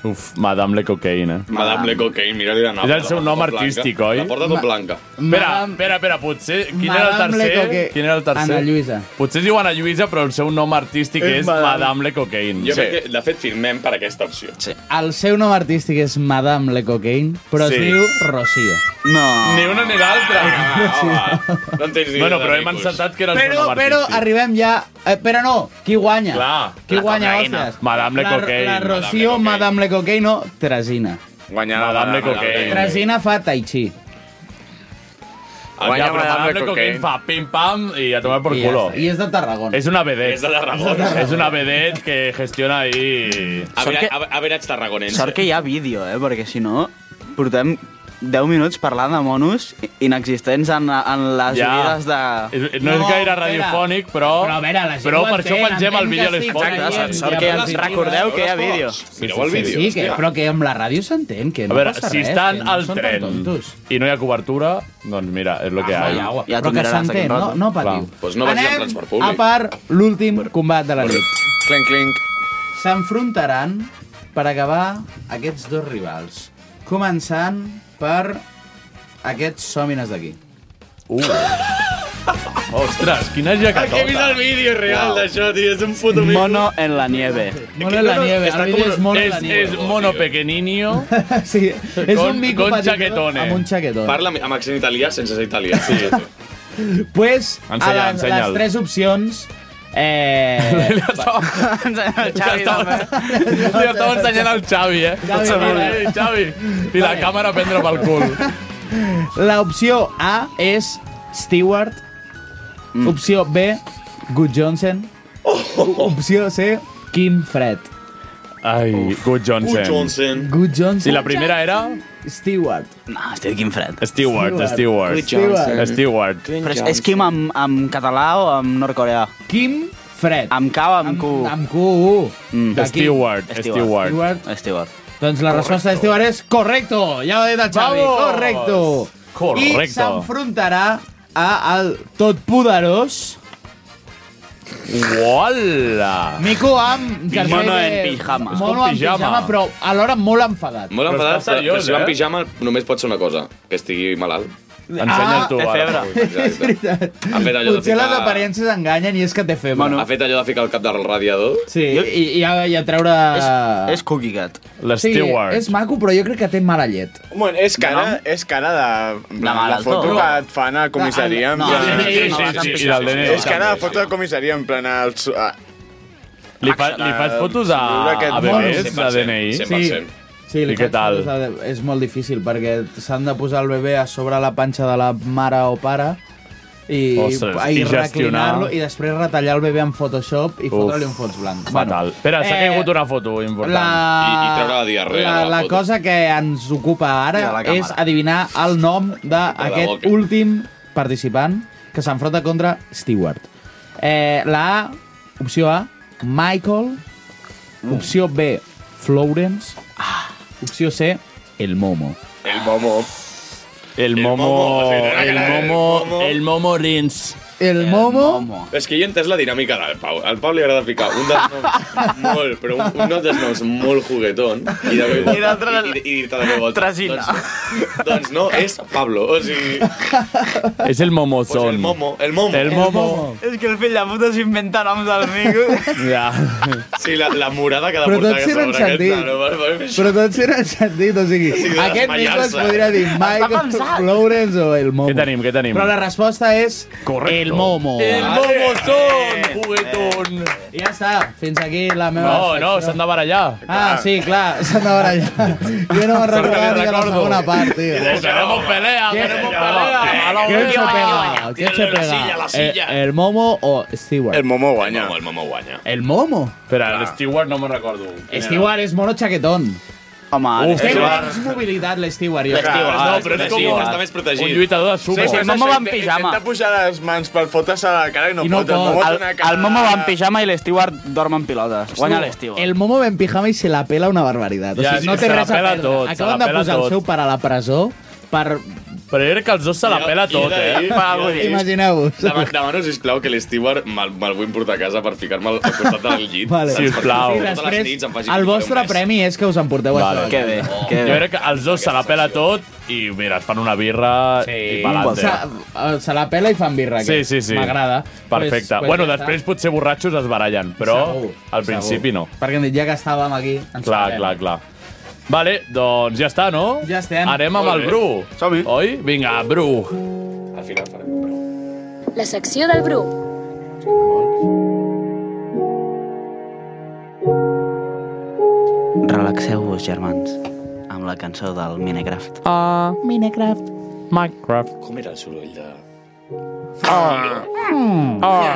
Uf, Madame Le Cocaine. Madame Le Cocaine, mira, li anava. És el seu nom La porta blanca. artístic, oi? La porta tot blanca. Espera, espera, espera, potser... Quin era el Madame Le tercer? Coque- Quin era el tercer? Ana Lluïsa. Potser es diu Ana Lluïsa, però el seu nom artístic És és Madame. Madame Le Cocaine. Jo crec que, de fet, firmem per aquesta opció. Sí. El seu nom artístic és Madame Le Coquin, però Sí. es diu Rocío. No. Ni una ni l'altra. Ah, No en tens ni Bueno, idea però de hem micos. encertat que era el seu Però, nom però artístic. arribem ja... Eh, però no, qui guanya? Clar. Qui La guanya, cocaïna. hòsties? Madame Le La- Cocaine. La, Madame Le Rocío, Madame Le Cocaine, no, Teresina. Guanyar Madame Le Cocaine. Teresina fa tai chi. Guanya Madame Le Cocaine, fa pim-pam i a tomar por I, ja culo. està. I és de Tarragona. És una vedet. És de Tarragona. És una vedet que gestiona ahí... A Sort veure, que- a, a veure, ets tarragonense. Sort que hi ha vídeo, eh? Perquè si no, portem 10 minuts parlant de monos inexistents en, en les Ja. vides de... És- no és No, gaire espera. radiofònic, però- Però a veure, la gent però ho per això entén, pengem el entén vídeo que a l'espai. sí, Exacte, que sort, hi ha gent sort que que ens hi ha recordeu que hi ha vídeo. vídeo. Mireu el vídeo, Sí, que, hòstia. però que amb la ràdio s'entén, que A no veure, passa si res. estan que al no són tren tan tontos. i no hi ha cobertura, doncs mira, és el que hi Agua ha. doncs i agua. Ja Però que t'ho miraràs s'entén, aquest no- rato. no patiu. Clar. Pues no vagin Anem en transport públic. A part, l'últim combat de la nit. Clenc, clenc. S'enfrontaran per acabar aquests dos rivals. Començant per aquests sòmines d'aquí. Uh. Ostres, quina Que he vist jacatota. el vídeo real d'això, tio. És un puto mico. Mono en la nieve. Mono en la nieve, el vídeo és mono en la nieve. És mono pequeninio. sí, és Con- un mico con petitó chaquetone. Amb un xaquetone. Parla amb accent italià sense ser italià. Sí. Pues, Ensenya, a les, ensenya'l. les tres opcions... Eh... El Xavi, també. Li estava ensenyant al Xavi, eh? Xavi, Xavi, mira. Xavi. I la càmera a prendre pel cul. L'opció A és Stewart. Mm. Opció B, Good Johnson. Oh. Opció C, Kim Fred. Ai, Good Johnson. Good Johnson. Good Johnson. I la primera era? Stewart. No, estic quin fred. Stewart, Stewart. Good Johnson. Stewart. Però és, és Kim en, en català o en nord-coreà? Kim Fred. Amb K o amb Q? Amb Q. Mm. D'aquí. Stewart, Stewart. Stewart. Stewart. Doncs la resposta de Stewart és correcto. Ja ho ha dit el Xavi. Vamos. Correcto. Correcto. I s'enfrontarà a el totpoderós Uala! Mico amb jersei Mono de- en pijama. Mono en Pijama. pijama, però alhora molt enfadat. Molt enfadat, està però, però seriós, si va en eh? Ah, pijama només pot ser una cosa, que estigui malalt. Ah, Ensenya'l tu, té ara. febre. És veritat. Ha fet allò de Potser les ficar... aparences enganyen i és que té febre. Ha fet allò de ficar el cap del radiador. Sí, i, i, a, i a treure... Ah. És, és Cookie Cat. sí, és maco, però jo crec que té mala llet. Bueno, és cara, és cara de... La, la malaltó. foto que et fan a Ah, comissaria. en no, plan- sí, sí, sí, sí, sí, del DNI. És cara de foto de comissaria, en plan... Els, a- Li, fa, li fas fotos a, Viure aquest a món. bebès, de DNI? Sí, li I què faig tal? fotos de- És molt difícil, perquè s'han de posar el bebè a sobre la panxa de la mare o pare i, Ostres, i i gestionar. reclinar-lo i després retallar el bebè en Photoshop i Uf. fotre-li un fons blanc. Fatal. Espera, s'ha eh, caigut una foto important. La... La, la cosa que ens ocupa I a ara la càmera. és adivinar el nom d'aquest boca. últim participant que s'enfronta contra Stewart. Eh, la A, opció A, Michael. Opció B, Florence. Ah. Opció C, El Momo. El momo. El momo, momo... sí, El el momo... El momo rins. El, momo. És que jo he entès la dinàmica del Pau. Al Pau li agrada ficar un dels noms molt, però un, un dels noms molt juguetón i de veu I volta, i, i, i dir-te de veu volta. Trasina. Doncs, doncs no, és Pablo. O sigui, És el momozón. el momo, el momo. El momo. És que el fill de puta s'inventa noms al mico. Ja. Sí, la, la murada que ha de Però portar tots aquesta tenen obra aquesta, sentit. no? Per- per- Però tots tenen sentit, o sigui, Sí, de aquest mico es desmaiar-se. podria dir Michael pensat. Lawrence o el momo. Què tenim, què tenim? Però la resposta és Correcto. el momo. El momozón, juguetón. Ja està, fins aquí la meva... No, no, s'han de barallar. Ah, sí, clar, s'han de barallar. Jo no me'n recordava ni de la segona part, tio. Queremos pelea, queremos pelea. A la ¿Quién se hoguera. pega? ¿Quién se pega? Eh, ¿El Momo o Stewart? El Momo guanya. El momo guanya. El Momo. Espera, el Stewart no me'n recordo. Stewart és mono chaquetón. Home, Uf, té Stewart. menys mobilitat, l'Stewart. L'Stewart, Ah, no, però és com està més protegit. un lluitador de sumo. Intenta pujar les mans per fotre-se la cara i no, I no pot. El Momo, té El, una cara... el Momo va en pijama i l'Stewart dorm en pilotes. Guanya l'Stewart. El Momo va en pijama i se la pela una barbaritat. O Ja, sigui, no sí, té se la res a pela perdre. tot, se Acaben la de pela posar tot. el seu pare a la presó per... Però jo crec que els dos se la pela tot, eh? Imagineu-vos. Demano, demano, sisplau, que l'Stewart me'l me vull portar a casa per ficar-me al al costat del llit. Vale. saps? Sisplau. Perquè Totes les Després, nits em faci el un vostre mes. premi és que us emporteu Vale, això. que bé, que bé. Jo crec que els dos se la pela tot i, mira, es fan una birra i Se, pa'lante. eh, se la pela i fan birra. Sí, aquest. sí, sí. M'agrada. Perfecte. Pues- pues bueno, ja està. després potser borratxos es barallen, però Segur, al principi no. Perquè hem dit, ja que estàvem aquí... ens Clar, parlem. clar, clar. Vale, doncs ja està, no? Ja estem. Anem amb Molt el bé. Bru. Som-hi. Oi? Vinga, Bru. Al final farem La secció del Bru. Relaxeu-vos, germans, amb la cançó del Minecraft. Ah, Minecraft. Minecraft. Com era el soroll de... Ah.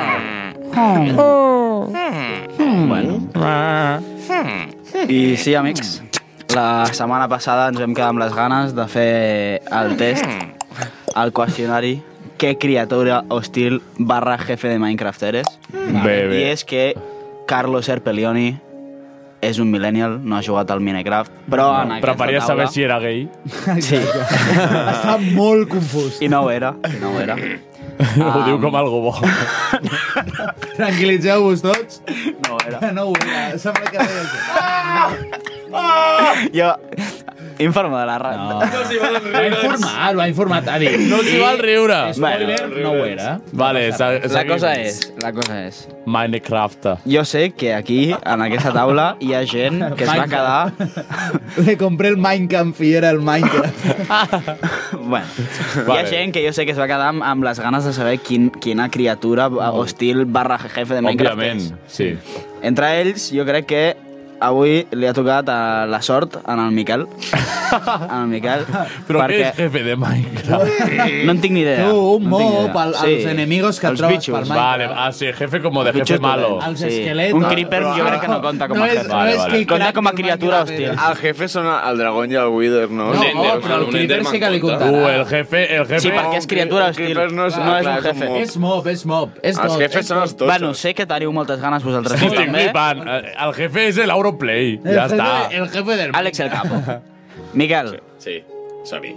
I sí, amics, la setmana passada ens vam quedar amb les ganes de fer el test, el qüestionari què criatura hostil barra jefe de Minecraft eres. Bé, bé. I és que Carlos Serpelioni és un millennial, no ha jugat al Minecraft, però en aquesta Preferia taula... saber si era gay. Sí. Està molt confús. I no ho era, i no ho era. Ho diu com algo bo. Tranquil·litzeu-vos tots. No era. Que no ho era. Sembla que deia Jo... Informo de la rata. No s'hi val riure. Va informar, ho ha informat. Ha dit. No s'hi val riure. Spoiler, no ho era. Vale, La cosa és, la cosa és... Minecraft. Jo sé que aquí, en aquesta taula, hi ha gent que es va quedar... Le compré el Minecraft i era el Minecraft. Bueno, hi ha Vale. gent que jo sé que es va quedar amb, amb les ganes de saber quin, quina criatura hostil barra jefe de Minecraft Òbviament, és. sí. Entre ells, jo crec que avui li ha tocat eh, la sort en el Miquel. En el Miquel. Però què és jefe de Minecraft? No en tinc ni idea. Tu, un no en tinc ni mop idea. al- als enemigos que els trobes bitxos. pel Minecraft. Vale, ah, sí, jefe como de jefe Bitxos malo. dolents. Els esquelets. Un creeper jo crec que no compta com a No és- jefe. no és que hi Compta crac com a del criatura Minecraft hostil. eres. El jefe són el Dragon i el Wither, no? No, oh, però el creeper sí que li Uh, comptarà. el jefe, el jefe... Sí, perquè és criatura hostil. Creepers no és- No és clar, és un un jefe. mob. És mob, és mob. És Els tot, jefes és són tot. els tots. Bueno, sé que teniu moltes ganes vosaltres dos Estic també. flipant. Eh, El jefe és l'Auroplay. El Ja jefe- està. El jefe del... Àlex el capo. Miquel, Sí, som-hi.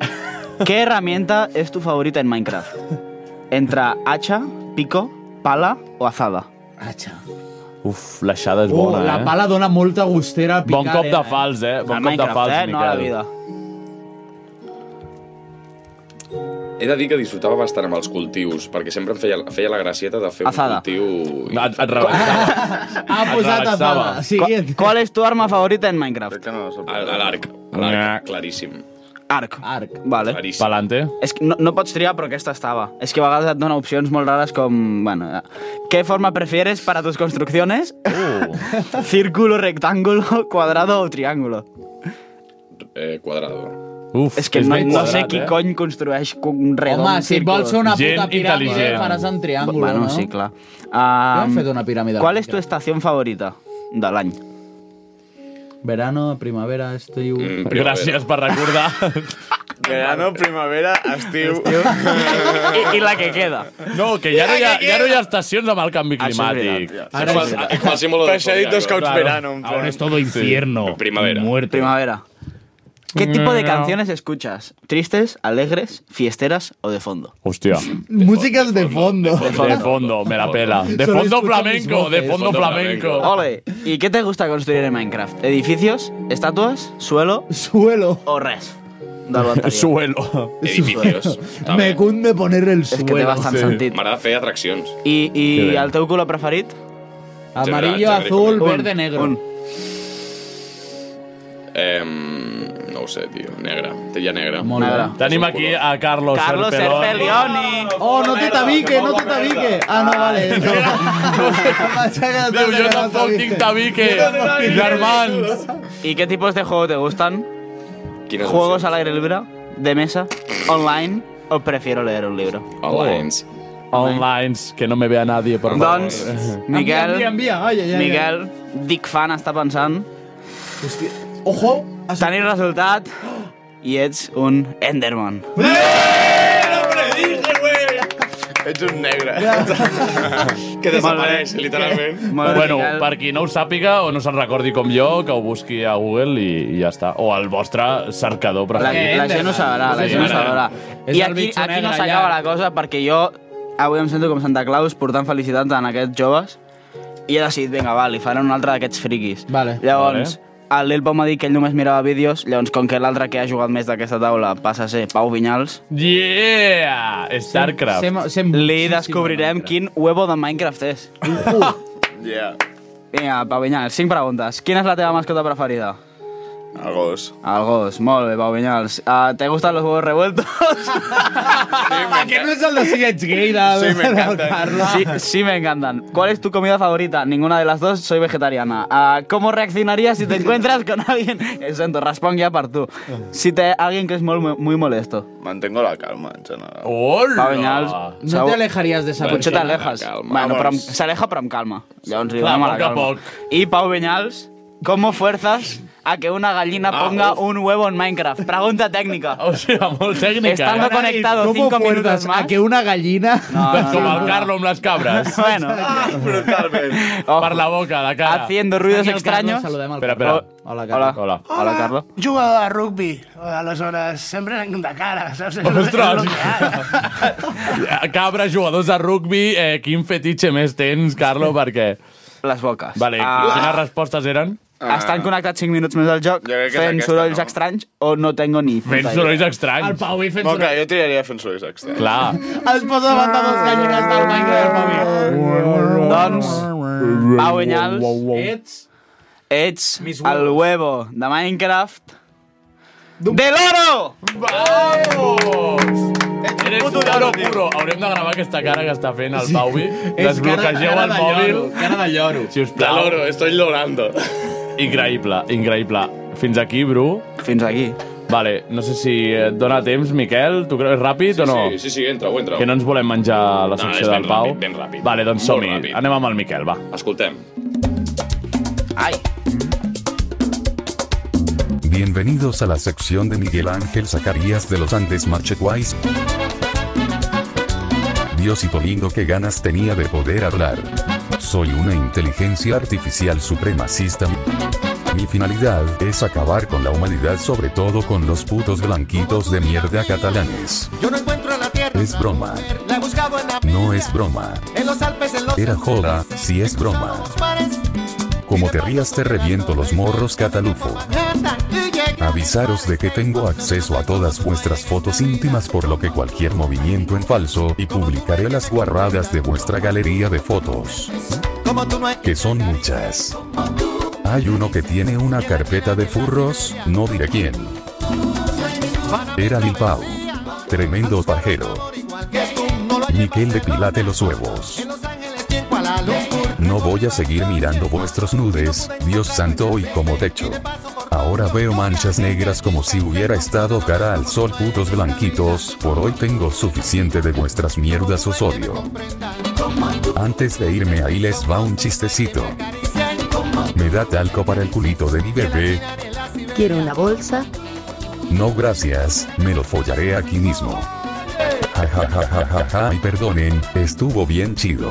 ¿qué herramienta es tu favorita en Minecraft? Entra hacha, pico, pala o azada? Atxa. Uf, l'aixada és Uh, bona, la eh? pala dona molta gustera a picar. Bon cop eh? de fals, eh? Al Bon cop de Minecraft, fals, eh? No a la Miquel. vida. He de dir que disfrutava bastant amb els cultius, perquè sempre em feia, feia la gracieta de fer un Azada. cultiu... Et, et rebentava. Ha posat a Atravessava. pala. Siguient. ¿Cuál es tu arma favorita en Minecraft? A, a l'arc, a l'arc, claríssim. Arc. Arc. Vale. Claríssim. Palante. És que no, no pots triar, però aquesta estava. És que a vegades et dona opcions molt rares com... Bueno, eh, ¿Qué forma prefieres para tus construcciones? Uh. ¿Círculo, rectángulo, cuadrado o triángulo? Eh, quadrado. Uf, És que no, ben no sé quadrat, qui eh? cony construeix un redon. Home, si círculo. vols ser una Gent puta piràmide, intel·ligent. faràs en triàngul, bueno, no? sí, clar. Jo Um, he fet una piràmide. ¿Cuál es tu estación favorita de l'any? Verano, primavera, estiu... Mm, primavera. Gràcies per recordar. Verano, primavera, estiu... I, I la que queda. No, que ja no hi ha, ja no hi ha estacions amb el canvi Això és climàtic. veritat, Ara és qual, és qual símbolo Per de això he dit dos zodiaco. couts verano. en plan. todo infierno. Primavera. Primavera. ¿Qué tipo de No. canciones escuchas? ¿Tristes, alegres, fiesteras o de fondo? Hostia. Músicas de fondo. De fondo, me la pela. De Solo fondo escucho flamenco, mis de voces. fondo flamenco. Ole, ¿y qué te gusta construir en Minecraft? ¿Edificios, estatuas, suelo? Suelo. ¿O res? De lo anterior. Suelo. Edificios. Me cunde poner el que suelo. te vas tan sentit. M'agrada fer atraccions. ¿Y, Qué y bien. al teu culo preferit? Amarillo, General, azul, general. verde, negro. Un. Eh, no ho sé, tio. Negra. Tella negra. Molt bé. Negra. Tenim aquí a Carlos, Carlos Herpelioni. Oh, no te tabique, no te tabique. Ah, no, vale. No. Déu, jo tampoc tinc tabique. Germans. ¿Y qué tipos de juegos te gustan? ¿Juegos al aire libre? ¿De mesa? ¿Online? ¿O prefiero leer un libro? Online. Oh. Online, que no me vea nadie, por favor. Doncs, Miquel, Envia, envia, envia. Ai, ai, ai, ai. Miquel, Dick Fan està pensant. Hòstia. Ojo. Tenir resultat i ets un Enderman. Ets un negre. Que desapareix, literalment. bueno, per qui no ho sàpiga o no se'n recordi com jo, que ho busqui a Google i, i ja està. O al vostre cercador La, preferit. la gent ho sabrà, la gent ho sabrà. I aquí, aquí no s'acaba la cosa perquè jo avui em sento com Santa Claus portant felicitats a aquests joves i he decidit, vinga, va, li faré un altre d'aquests friquis. Vale. Llavors, el Lil Pau m'ha dit que ell només mirava vídeos, llavors com que l'altre que ha jugat més d'aquesta taula passa a ser Pau Vinyals, Yeah! StarCraft. li descobrirem quin huevo de Minecraft és. Yeah. Vinga, Pau Vinyals, cinc preguntes. Quina és la teva mascota preferida? El gos. El gos, molt bé, Pau Vinyals. Uh, ¿Te gustan los huevos revueltos? Ah. Que no és el de si ets gay de, Sí, me del Carlos. Sí, sí, me encantan. ¿Cuál es tu comida favorita? Ninguna de las dos, soy vegetariana. Ah, ¿Cómo reaccionarías si te encuentras con alguien? Exacto, raspón ya para tú. Si te alguien que es muy, muy molesto. Mantengo la calma, en general. Hola! Pau Vinyals, No segur- te alejaries de esa Potser persona. t'alejes. Calma, Bueno, vamos. però amb- s'aleja però amb calma. Llavors li Clar, donem a la poc a calma. poc. I Pau Vinyals, ¿cómo fuerzas a que una gallina ponga un huevo en Minecraft? Pregunta técnica. O sea, molt tècnica. eh? Estando conectado ¿Cómo cinco minutos fuerzas más. a que una gallina... No, no, no, Com no, el no. Carlo amb les cabres. Bueno, Ojo. per la boca, la cara. haciendo ruidos Aquí el Carlos, extraños. saludem al Espera, espera. Carlos. Hola, Hola. Carlos. Hola. Hola, Carlos. Jugador de rugbi, aleshores, sempre anem de cara, saps? És el- és el Ostres! que hi ha. Cabra, jugadors de rugbi, eh, quin fetitxe més tens, Carlo, perquè... Les boques. Vale, Ah. quines respostes eren? Estan connectats 5 minuts més al joc, crec que és fent aquesta, sorolls no? estranys o no tengo ni puta Fent idea. sorolls estranys. El Pau i fent... No, clar, jo triaria fent sorolls externs. Clar. Es posa davant de dos gallines del Minecraft, Doncs, Pau Vinyals, Pau. Ets... ets el huevo de Minecraft de l'oro! Eres un oro puro. Haurem de gravar aquesta cara que està fent el Pauvi. Desbloquegeu el mòbil. Cara de lloro. Si us De plau. l'oro, estoy llorando. Increïble, increïble. Fins aquí, Bru. Fins aquí. Vale, no sé si et dona temps, Miquel. Tu creus ràpid o no? Sí, sí, sí, entra, ho entra. Que no ens volem menjar No, la secció és ben del Pau. ràpid, ben ràpid. Vale, doncs Molt som-hi. ràpid. Anem amb el Miquel, va. Escoltem. Bienvenidos a la sección de Miguel Ángel Zacarías de los Andes Marcheguais. Diosito lindo que ganas tenía de poder hablar. Soy una inteligencia artificial supremacista. Mi finalidad es acabar con la humanidad, sobre todo con los putos blanquitos de mierda catalanes. Yo no encuentro la tierra, Es broma. la he buscado en, la- No es broma. en los Alpes, en los Era joda, si es broma. mares. Como te rías te reviento los morros catalufo. Manhattan, y llegué Avisaros de que tengo acceso a todas vuestras fotos íntimas por lo que cualquier movimiento en falso y publicaré las guarradas de vuestra galería de fotos, como tú no hay- que son muchas. Hay uno que tiene una carpeta de furros, no diré quién. Era Lil Pau. Tremendo pajero. que tú no lo Miquel de Pilate los huevos. tienes tiempo a la locura. No voy a seguir mirando vuestros nudes, Dios santo y como techo. Ahora veo manchas negras como si hubiera estado cara al sol putos blanquitos, por hoy tengo suficiente de vuestras mierdas os odio. Antes de irme ahí les va un chistecito. Me da talco para el culito de mi bebé. Quiero una bolsa. No gracias, me lo follaré aquí mismo. Ja ja ja ja ja ja y perdonen, estuvo bien chido.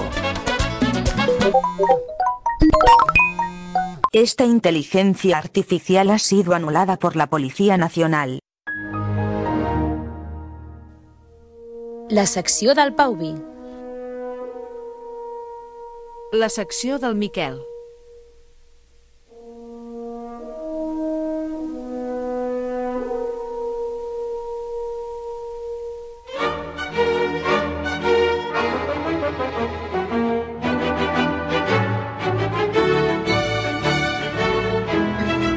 Esta inteligencia artificial ha sido anulada por la Policía Nacional. La secció del Pau Vi. La secció del Miquel.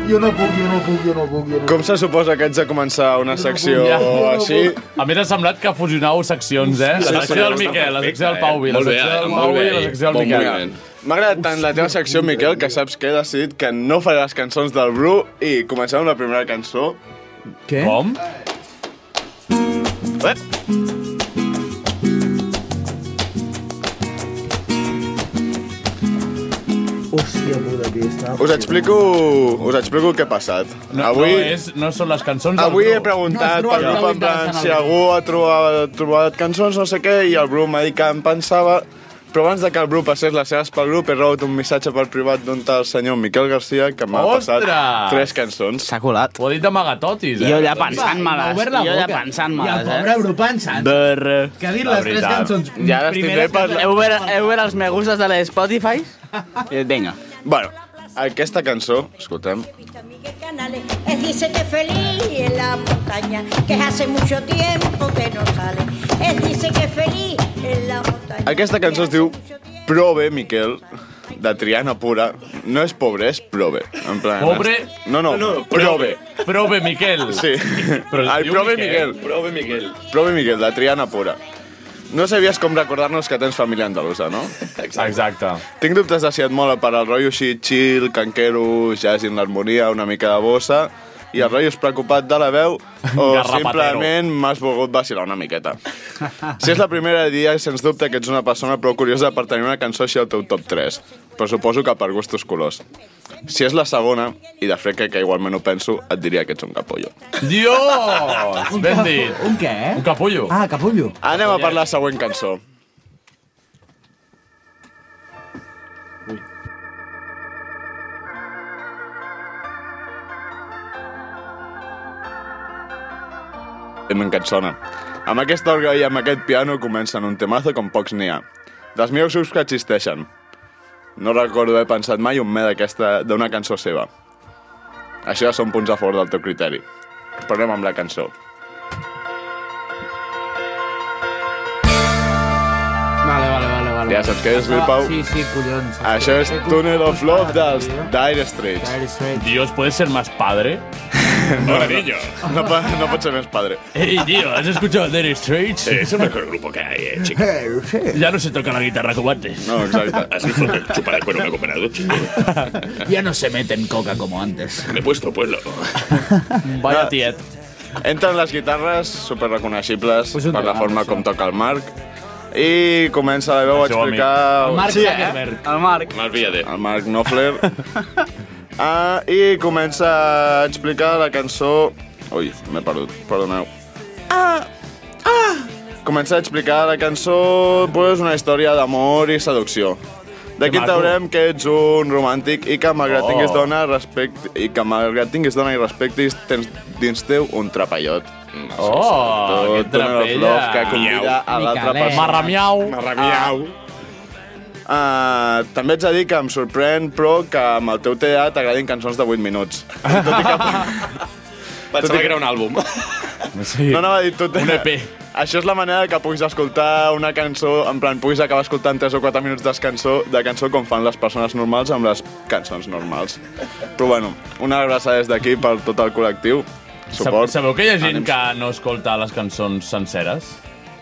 Jo no puc, jo no puc, jo no puc, jo no Com se suposa que haig de començar una secció Ja. així? A mi t'ha semblat que fusionau seccions, eh? La secció del Miquel, la secció eh? del Pau Vi, la secció del Pau Vi i la secció del Miquel. M'ha agradat tant la teva secció, Miquel, que saps que he decidit que no faré les cançons del Bru i comencem amb la primera cançó. Què? Com? Eh? Hòstia puta, que estava... Us explico, us explico què ha passat. No, Avui, no, és, no són les cançons del avui Bru. he preguntat No, no, has trobat pel una grup en plan interessant si al Bru. algú ha trobat, trobat cançons, no sé què, i el Bru m'ha dit que en pensava... Però abans de que el Bru passés les seves pel grup, he rebut un missatge per privat d'un tal senyor Miquel Garcia que m'ha passat Ostres! tres cançons. S'ha colat. Ho ha dit d'amagatotis, eh? Jo ja pensant-me-les, M'ha obert la jo ja boca. pensant-me-les, I el eh? pobre Bru pensant. Brr. Que ha dit les tres cançons I ara estic primeres bé per... que- Heu obert, heu obert els me gustes de l'Spotify? Vinga. Bueno, aquesta cançó, escoltem, canales. Él dice que es feliz en la montaña, que hace mucho tiempo que no sale. Él dice que es feliz en la montaña. Aquesta cançó es diu Prove, Miquel, de Triana Pura. No és pobre, és prove. En plan, Pobre? No, no, No, no, prove. Prove, Miquel. Sí. Però Ai, diu prove, Miquel. Miquel. Prove, Miquel. Prove, Miquel, de Triana Pura. No sabies com recordar-nos que tens família andalusa, no? Exacte. Exacte. Tinc dubtes de si et mola per al rotllo així chill, canquero, jazz i en l'harmonia, una mica de bossa, i el rotllo és preocupat de la veu o Garrapatero. simplement m'has volgut vacilar una miqueta. Si és la primera dia, sens dubte que ets una persona prou curiosa per tenir una cançó així al teu top 3, però suposo que per gustos colors. Si és la segona, i de fred que, que igualment ho penso, et diria que ets un capullo. Dios! Ben dit. Un què? Un capullo. Ah, capullo. Anem a per la següent cançó. Em encansona. Amb aquesta orga i amb aquest piano comencen un temazo com pocs n'hi ha. Dels millors grups que existeixen. No recordo haver pensat mai un me d'aquesta- d'una cançó seva. Això ja són punts a favor del teu criteri. Però anem amb la cançó. Vale, vale, vale. vale. Ja saps què és, Lil Pau? Sí, sí, collons. Això és Tunnel of Love dels Dire Straits. Dios, ¿puedes ser más padre? No, No, po- no pot ser més padre. Ey, tío, ¿has escuchado Dire Straits? Es el mejor grupo que hay, eh, chico. Ya no se toca la guitarra como antes. No, exacto. ¿Has visto que chupa de cuero me he comprado, chico? Ya no se meten coca como antes. Me he puesto pueblo. Vaya tiet. Entren les guitarres, super reconeixibles per la forma com toca el Marc. I comença la veu a Això, amic. explicar... El Marc eh? Zuckerberg. El Marc. Marc Villader. El Marc Knopfler. ah, I comença a explicar la cançó... Ui, m'he perdut, perdoneu. Ah, Comença a explicar la cançó, pues, una història d'amor i seducció. D'aquí Que maco. traurem que ets un romàntic i que Oh. malgrat tinguis dona, respecte, i que malgrat tinguis dona i respectis, tens dins teu un trapallot. Mm. Oh, que trapella. Love, que convida Miau. a l'altra Micalet. persona. Marramiau. Marramiau. Ah, també ets a dir que em sorprèn, però que amb el teu TDA t'agradin cançons de 8 minuts. Tot i Pensava que- que era un àlbum. Sí. No anava a dir tot. Un E EP. Això és la manera que puguis escoltar una cançó, en plan, puguis acabar escoltant 3 o 4 minuts de cançó, de cançó com fan les persones normals amb les cançons normals. Però bueno, una abraçada des d'aquí per tot el col·lectiu. Suport. Sabeu que hi ha gent que no escolta les cançons senceres?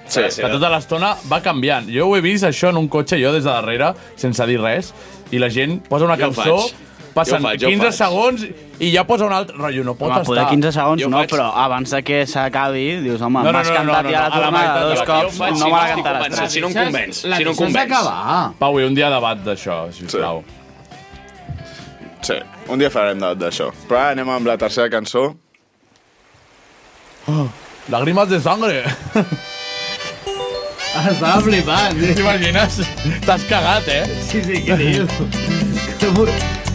Sí. Que tota l'estona va canviant. Jo ho he vist, això, en un cotxe, jo des de darrere, sense dir res, i la gent posa una Jo ho cançó, faig. passen Jo ho faig, jo ho 15 faig. segons i ja posa una altra. Rotllo, no pot Home, poder estar. 15 segons, no, però abans de que s'acabi, dius, home, No, no, m'has no, no, cantat no, ja la no, a la tornada meitat de dos la- cops, Jo ho faig no si me no la estic cantaràs. convençut, si no em convenç, si no em convenç. Pau, i un dia debat d'això, sisplau. Sí, un dia farem debat d'això. Però ara anem amb la tercera cançó. Oh, Lágrimas de sangre. Estava flipant. T'imagines? T'has cagat, eh? Sí, sí, què dius?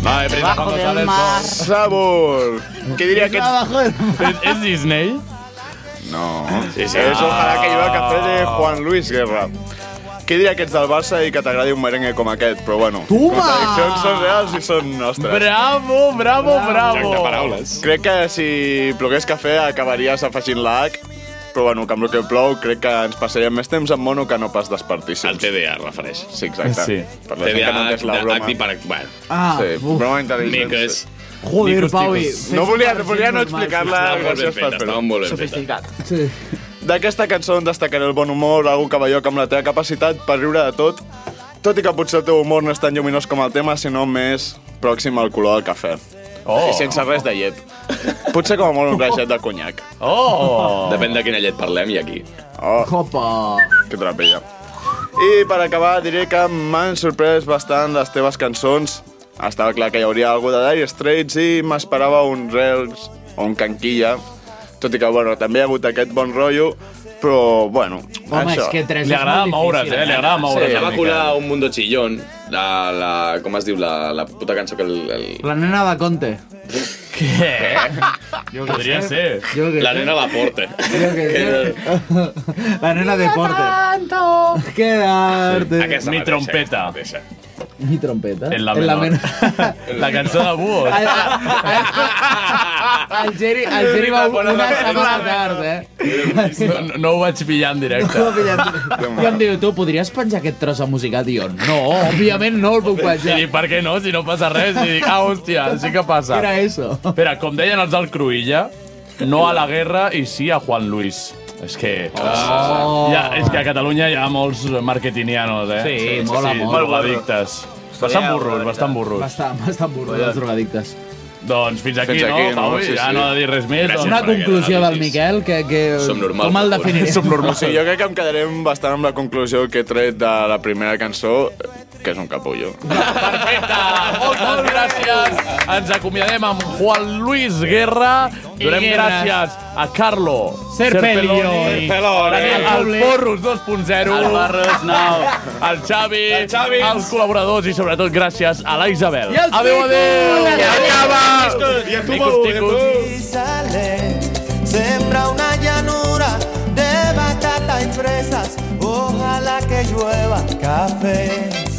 Vale, Prisa Debajo del González. mar. Sabor. ¿Qué diría que ¿Es- ¿Es Disney? No. Sí, sí. És Ojalá que lleva Ah. cafè de Juan Luis Guerra. Què diria que ets del Barça i que t'agradi un merengue com aquest, però bueno. Toma! Contradiccions són reals i són nostres. Bravo, bravo, bravo. Exacte, paraules. Crec que si plogués cafè acabaries afegint la H, però bueno, que amb el que plou crec que ens passaríem més temps amb mono que no pas despartíssims. El TDA es refereix. Sí, exacte. Sí. Per la gent que no entès la TDA, broma. actiparec- bueno. Ah, sí, uf. broma intel·ligent. Miques. Joder, Micos, Paui, ticos. fes No volia- no volia no explicar-la, Estaven molt ben gràcies per fetes, fer-ho. estaven molt ben fetes. Sofisticat. D'aquesta cançó en destacaré el bon humor, algú que belloc amb la teva capacitat per riure de tot, tot i que potser el teu humor no és tan lluminós com el tema, sinó més pròxim al color del cafè. Oh. I sense res de llet. Potser com a molt un rajet de conyac. Oh! Depèn de quina llet parlem i aquí. Oh. Copa! Que trapella. I per acabar diré que m'han sorprès bastant les teves cançons. Estava clar que hi hauria algú de Dire Straits i m'esperava un Rels o un Canquilla. Tot i que, bueno, també hi ha hagut aquest bon rotllo, però, bueno, Home, això. és que tres Li és agrada molt moure's, difícil, eh? Li agrada Sí, ja va colar un mundo chillón, la, la, com es diu, la, la puta cançó que el... el... La nena da Conte. Què? Yo que Podria sé. ser. Yo que La sé. nena la porte. Yo que sé. Eh. La nena deporte. Tanto. Quedarte. Mi trompeta. Mi trompeta. En la En la Ah, menor. La cançó de Búho. El Geri, el Geri va una setmana tard, eh? No, no, no ho vaig pillar en directe. No ho pillar I em diu, tu, podries penjar aquest tros de música? Diu, no, òbviament no el puc I penjar. dic, per què no? Si no passa res. I dic, ah, hòstia, sí que passa. Era eso. Espera, com deien els del Cruïlla, no a la guerra i sí a Juan Luis. És que... Oh. Ja, és que a Catalunya hi ha molts marketinianos, eh? Sí, mola molt. Drogadictes. Bastant burros, bastant burros. Bastant, bastant burro, els drogadictes. Doncs fins aquí, Fins aquí, no, Pau? no? Sí, ja sí. no ha de dir res més. Gràcies doncs. Una per conclusió del Miquel que... que com el definiria? O sigui, jo crec que em quedarem bastant amb la conclusió que he tret de la primera cançó, que és un capullo. Moltes gràcies. Ens acomiadem amb Juan Luis Guerra. I Donem Guerra. gràcies a Carlo Serpelio. Serpeloni, Daniel al Robles. Porros 2.0, Al Barros, no. al Xavi, als col·laboradors i sobretot gràcies a la Isabel. I als Adéu, adéu! ticos. acaba! I a tu, Ticos, Bou, i a ticos. Y sale, sembra una llanura de batata y fresas, ojalá que llueva café.